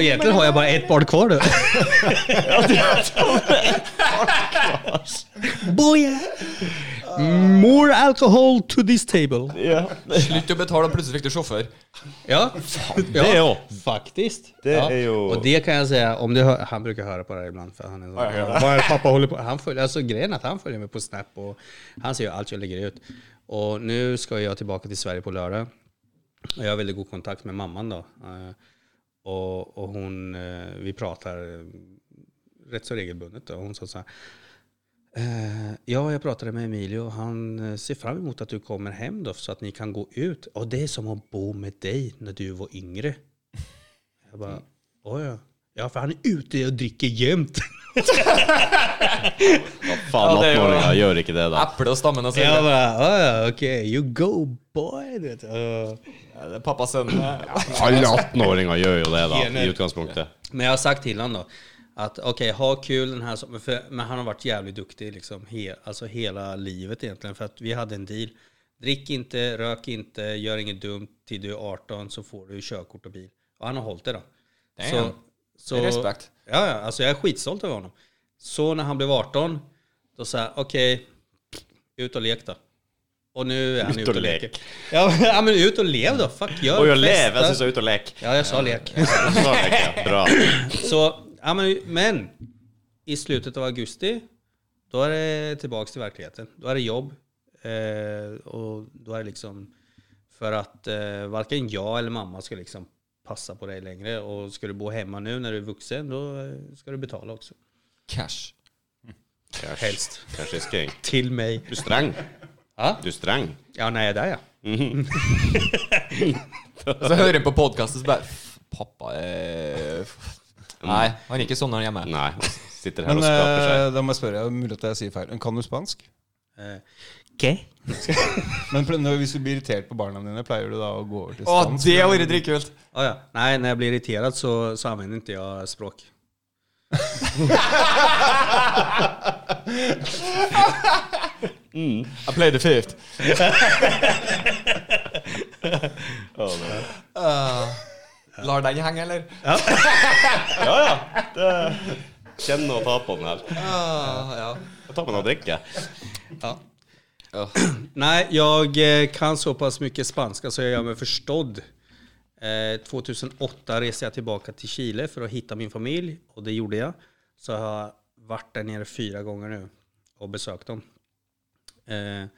Speaker 1: egentligen har jag bara ett barn kvar nu. Boja! More alcohol to this table.
Speaker 4: Ja.
Speaker 3: Slutt å betale, og plutselig fikk du sjåfør.
Speaker 1: Ja,
Speaker 4: det
Speaker 1: ja
Speaker 4: òg.
Speaker 1: faktiskt.
Speaker 4: Det
Speaker 1: ja.
Speaker 4: är ju-
Speaker 1: Och det kan jag säga, om du hör, han brukar höra på det här ibland för han är så, Vad är det pappa håller på han altså, följer, alltså, Grejen är att han följer mig på Snap och han ser ju allt jag lägger ut. Och nu ska jag tillbaka till Sverige på lördag. Och jag har väldigt god kontakt med mamman då. Eh, Och, och hon, eh, vi pratar eh, rätt så regelbundet. Då. Hon sa så här, Eh, ja, jag pratade med Emilio. Han eh, ser fram emot att du kommer hem då, så att ni kan gå ut. Och det är som att bo med dig när du var yngre. Jag bara, oj ja. Ja, för han är ute och dricker jämt.
Speaker 4: Hva faen,
Speaker 3: Ja, det er jo-
Speaker 4: 18-åringer gjør ikke det, da.
Speaker 3: Eple og stammen og
Speaker 1: Jag
Speaker 3: sånn.
Speaker 1: bara, "Ja, ja, okej, you go boy. Det, uh.
Speaker 3: Ja, det er Pappas sønn.
Speaker 4: Alle 18-åringer gjør jo det, da, i
Speaker 1: Enig.
Speaker 4: utgangspunktet.
Speaker 1: Men jag har sagt till honom då att okej, ha kul den här sommaren. För- Men han har varit jävligt duktig liksom he, alltså hela livet egentligen. För att vi hade en deal. Drick inte, rök inte, gör inget dumt. Till du är 18 så får du körkort och bil. Och han har hållit det då.
Speaker 3: Damn.
Speaker 1: så,
Speaker 3: Det är respekt.
Speaker 1: Ja, ja, alltså jag är skitstolt över honom. Så när han blev 18, då sa jag okej, ut och lek då. Och nu är han
Speaker 4: Ut
Speaker 1: ute
Speaker 4: och
Speaker 1: och
Speaker 4: lek.
Speaker 1: leker. Ja, men- ja, men ut och lev då. Fuck, gör
Speaker 4: Oi, å leve!
Speaker 1: festa.
Speaker 4: Jeg syns jeg er ute og leker.
Speaker 1: Ja, jag sa lek.
Speaker 4: Sånn leker jeg. Bra.
Speaker 1: Så, ja, men, men i slutet av augusti, då är det tillbaks till verkligheten. Då är det jobb. Eh, och då är det liksom för att eh, varken jag eller mamma ska liksom passa på dig längre. Och ska du bo hemma nu när du är vuxen, då eh, ska du betala också.
Speaker 3: Cash.
Speaker 1: Helst.
Speaker 4: Kanskje sking.
Speaker 1: Till mig.
Speaker 4: Du er streng.
Speaker 1: Ja,
Speaker 4: Du er streng.
Speaker 1: ja nej, där ja.
Speaker 3: Og så hører han på podkasten, så bare "F, Pappa eh, f- Nei, han er ikke sånn når han er hjemme.
Speaker 4: Nei. han Sitter her
Speaker 2: Men
Speaker 4: og skaper seg.
Speaker 2: eh, da må jeg spørre, det er mulig at jeg sier feil. Men Kan du spansk?
Speaker 1: Eh, okej.
Speaker 2: Men pl- når- hvis du blir irritert på barna dine, pleier du da å gå over til
Speaker 3: Å,
Speaker 2: spansk?
Speaker 3: det hadde vært dritkult!
Speaker 1: Ja, ja. Nej, när jag blir irriterad så, så använder inte jag språk.
Speaker 3: eh, I played the fifth. Ah. lar den henge, eller?
Speaker 4: Ja, ja. Det Kjenne og ta på den her.
Speaker 3: Ah, ja.
Speaker 4: Ta på den og drikke.
Speaker 1: Ja.
Speaker 3: Ja.
Speaker 1: Nej, jag eh, kan så pass mycket spanska så jag gör mig förstådd. Eh, 2008 reste jag tillbaka till Chile för att hitta min familj och det gjorde jag. Så jag har varit där nere fyra gånger nu och besökt dem. Eh,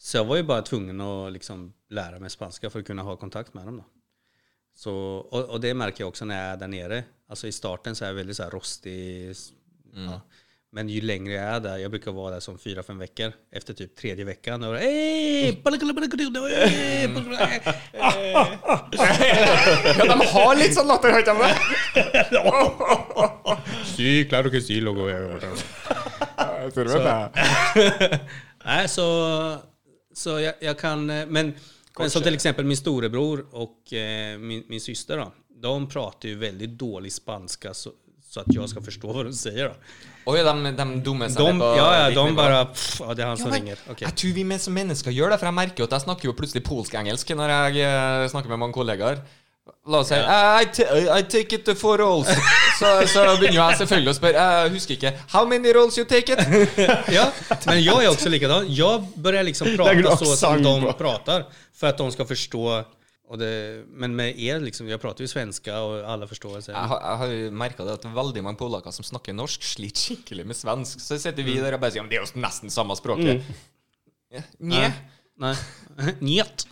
Speaker 1: Så jag var ju bara tvungen att liksom lära mig spanska för att kunna ha kontakt med dem. Då. Så, och, och det märker jag också när jag är där nere. Alltså i starten så är jag väldigt så här rostig. s- Ja. Men ju längre jag är där, jag brukar vara där som fyra, fem veckor. Efter typ tredje veckan, då är det "Ey, balakala, balakala, ey, balakala."
Speaker 3: Ja, de har litt sånn latter høyt hjemme.
Speaker 4: Sí, claro que sí, logo. Jeg Ah,
Speaker 1: Nej, så, så jag, jag kan... eh, Men, men som till exempel min storebror och eh, min, min syster då. De pratar ju väldigt dålig spanska så, så att jag ska förstå vad de säger. Då.
Speaker 3: Oi, de, de dumme seg
Speaker 1: De,
Speaker 3: ned på
Speaker 1: ja, ja,
Speaker 3: ditt
Speaker 1: de
Speaker 3: nivå.
Speaker 1: bara... Pff, ja, det är han
Speaker 3: Ja,
Speaker 1: som
Speaker 3: men
Speaker 1: ringer. Okej.
Speaker 3: Jeg tror vi men- som mennesker gjør det, for jeg merker jo at jeg snakker jo plutselig polsk-engelsk når jeg eh, snakker med mange kollegaer. La oss si "Eh, I, ta- I take it for rolls. Så, så begynner jo jeg selvfølgelig å spørre. "Eh, Jeg husker ikke. How many rolls you take it?
Speaker 1: Ja, men jag är också likadan. Jag börjar liksom
Speaker 4: Lägger
Speaker 1: prata
Speaker 4: du
Speaker 1: så som
Speaker 4: accent
Speaker 1: de
Speaker 4: på?
Speaker 1: pratar. För att de ska förstå. Och det, men med er liksom, jeg prater ju svenska och alla förstår. Så.
Speaker 3: Jeg har, jeg har merka det at veldig mange polakker som snakker norsk, sliter skikkelig med svensk. Så sitter vi der og bare sier "Ja, men det er jo nesten samme språket. Ja, Nje.
Speaker 1: Nej. Njet.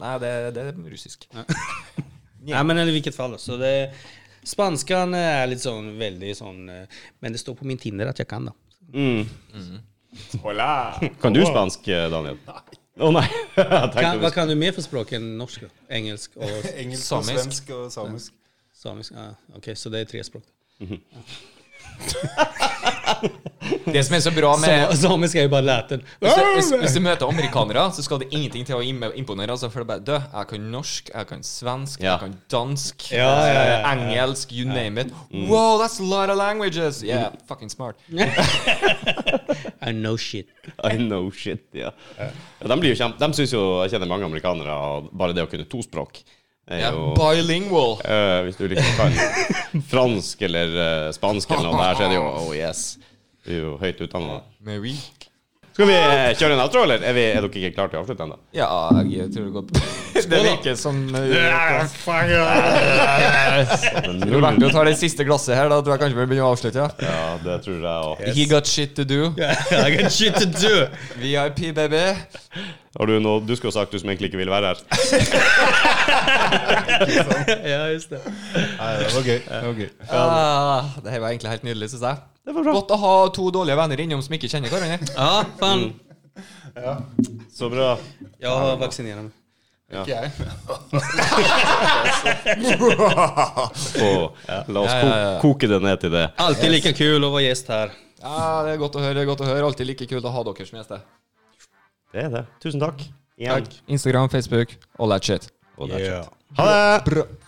Speaker 3: Nei, det, det er russisk.
Speaker 1: Ja, men eller i vilket fall. då. Så det, spanskan är lite sån väldigt sån, eh, men det står på min Tinder att jag kan då.
Speaker 4: Kan du spansk, eh, Daniel? Å nei. Jeg
Speaker 1: Kan,
Speaker 4: tenkte
Speaker 1: vad kan du mer för språk än norsk då? Engelsk och
Speaker 2: Engelsk,
Speaker 3: Samisk.
Speaker 2: og svensk og samisk.
Speaker 1: samisk? Ja, Okej, så det är tre språk.
Speaker 3: Det som er så bra med
Speaker 1: Sam, samiska är ju bara läten.
Speaker 3: Hvis du, hvis, hvis du møter amerikanere, så skal det ingenting til å im- imponere. Altså, for det er bare Dø, jeg kan norsk, jeg kan svensk,
Speaker 4: Ja.
Speaker 3: jeg kan dansk,
Speaker 1: Ja, ja, ja, ja.
Speaker 3: eh, engelsk, you name it. Wow, that's a lot of languages! Yeah, fucking smart.
Speaker 1: I know shit.
Speaker 4: I know shit, ja. ja de blir jo kjempe... De synes jo Jeg kjenner mange amerikanere, og bare det å kunne to språk er
Speaker 3: Yeah,
Speaker 4: jo
Speaker 3: bilingual.
Speaker 4: Eh, hvis du liksom kan fransk eller eh, spansk eller noe der, så er det jo oh yes. Du er jo høyt utdanna.
Speaker 3: Mary.
Speaker 4: Skal vi eh, kjøre en outro, eller? Er, vi, er dere ikke klare til å avslutte ennå?
Speaker 3: Ja, jeg tror det går Det virker som eh, Roberto tar det siste glasset her, da tror jeg kanskje vi begynner å avslutte. Ja.
Speaker 4: Ja, det tror jeg òg.
Speaker 3: He got shit to do.
Speaker 1: I got shit to do.
Speaker 3: VIP, baby.
Speaker 4: Har du noe du skulle ha sagt, du som egentlig ikke ville være her?
Speaker 1: ja, just det.
Speaker 2: Nei, det var gøy. Det var gøy.
Speaker 3: Ah, det her var egentlig helt nydelig, syns jeg. Godt å ha to dårlige venner innom som ikke kjenner hverandre.
Speaker 1: Ja, fan.
Speaker 4: Så bra.
Speaker 1: Jag har vaccinerat mig.
Speaker 2: Ikke jeg.
Speaker 4: Og, la oss
Speaker 3: Ja,
Speaker 4: ko
Speaker 3: ja, ja.
Speaker 4: koke det ned til det.
Speaker 1: Alltid lika kul att vara gäst här.
Speaker 3: Ja, det er godt å høre. det er godt å høre Alltid like kult å ha dere som gjester.
Speaker 4: Det er det. Tusen takk. Igjen.
Speaker 3: Instagram, Facebook, all that shit.
Speaker 4: Og det er
Speaker 1: Yeah.
Speaker 4: kjekt. Ha det!
Speaker 3: Bra.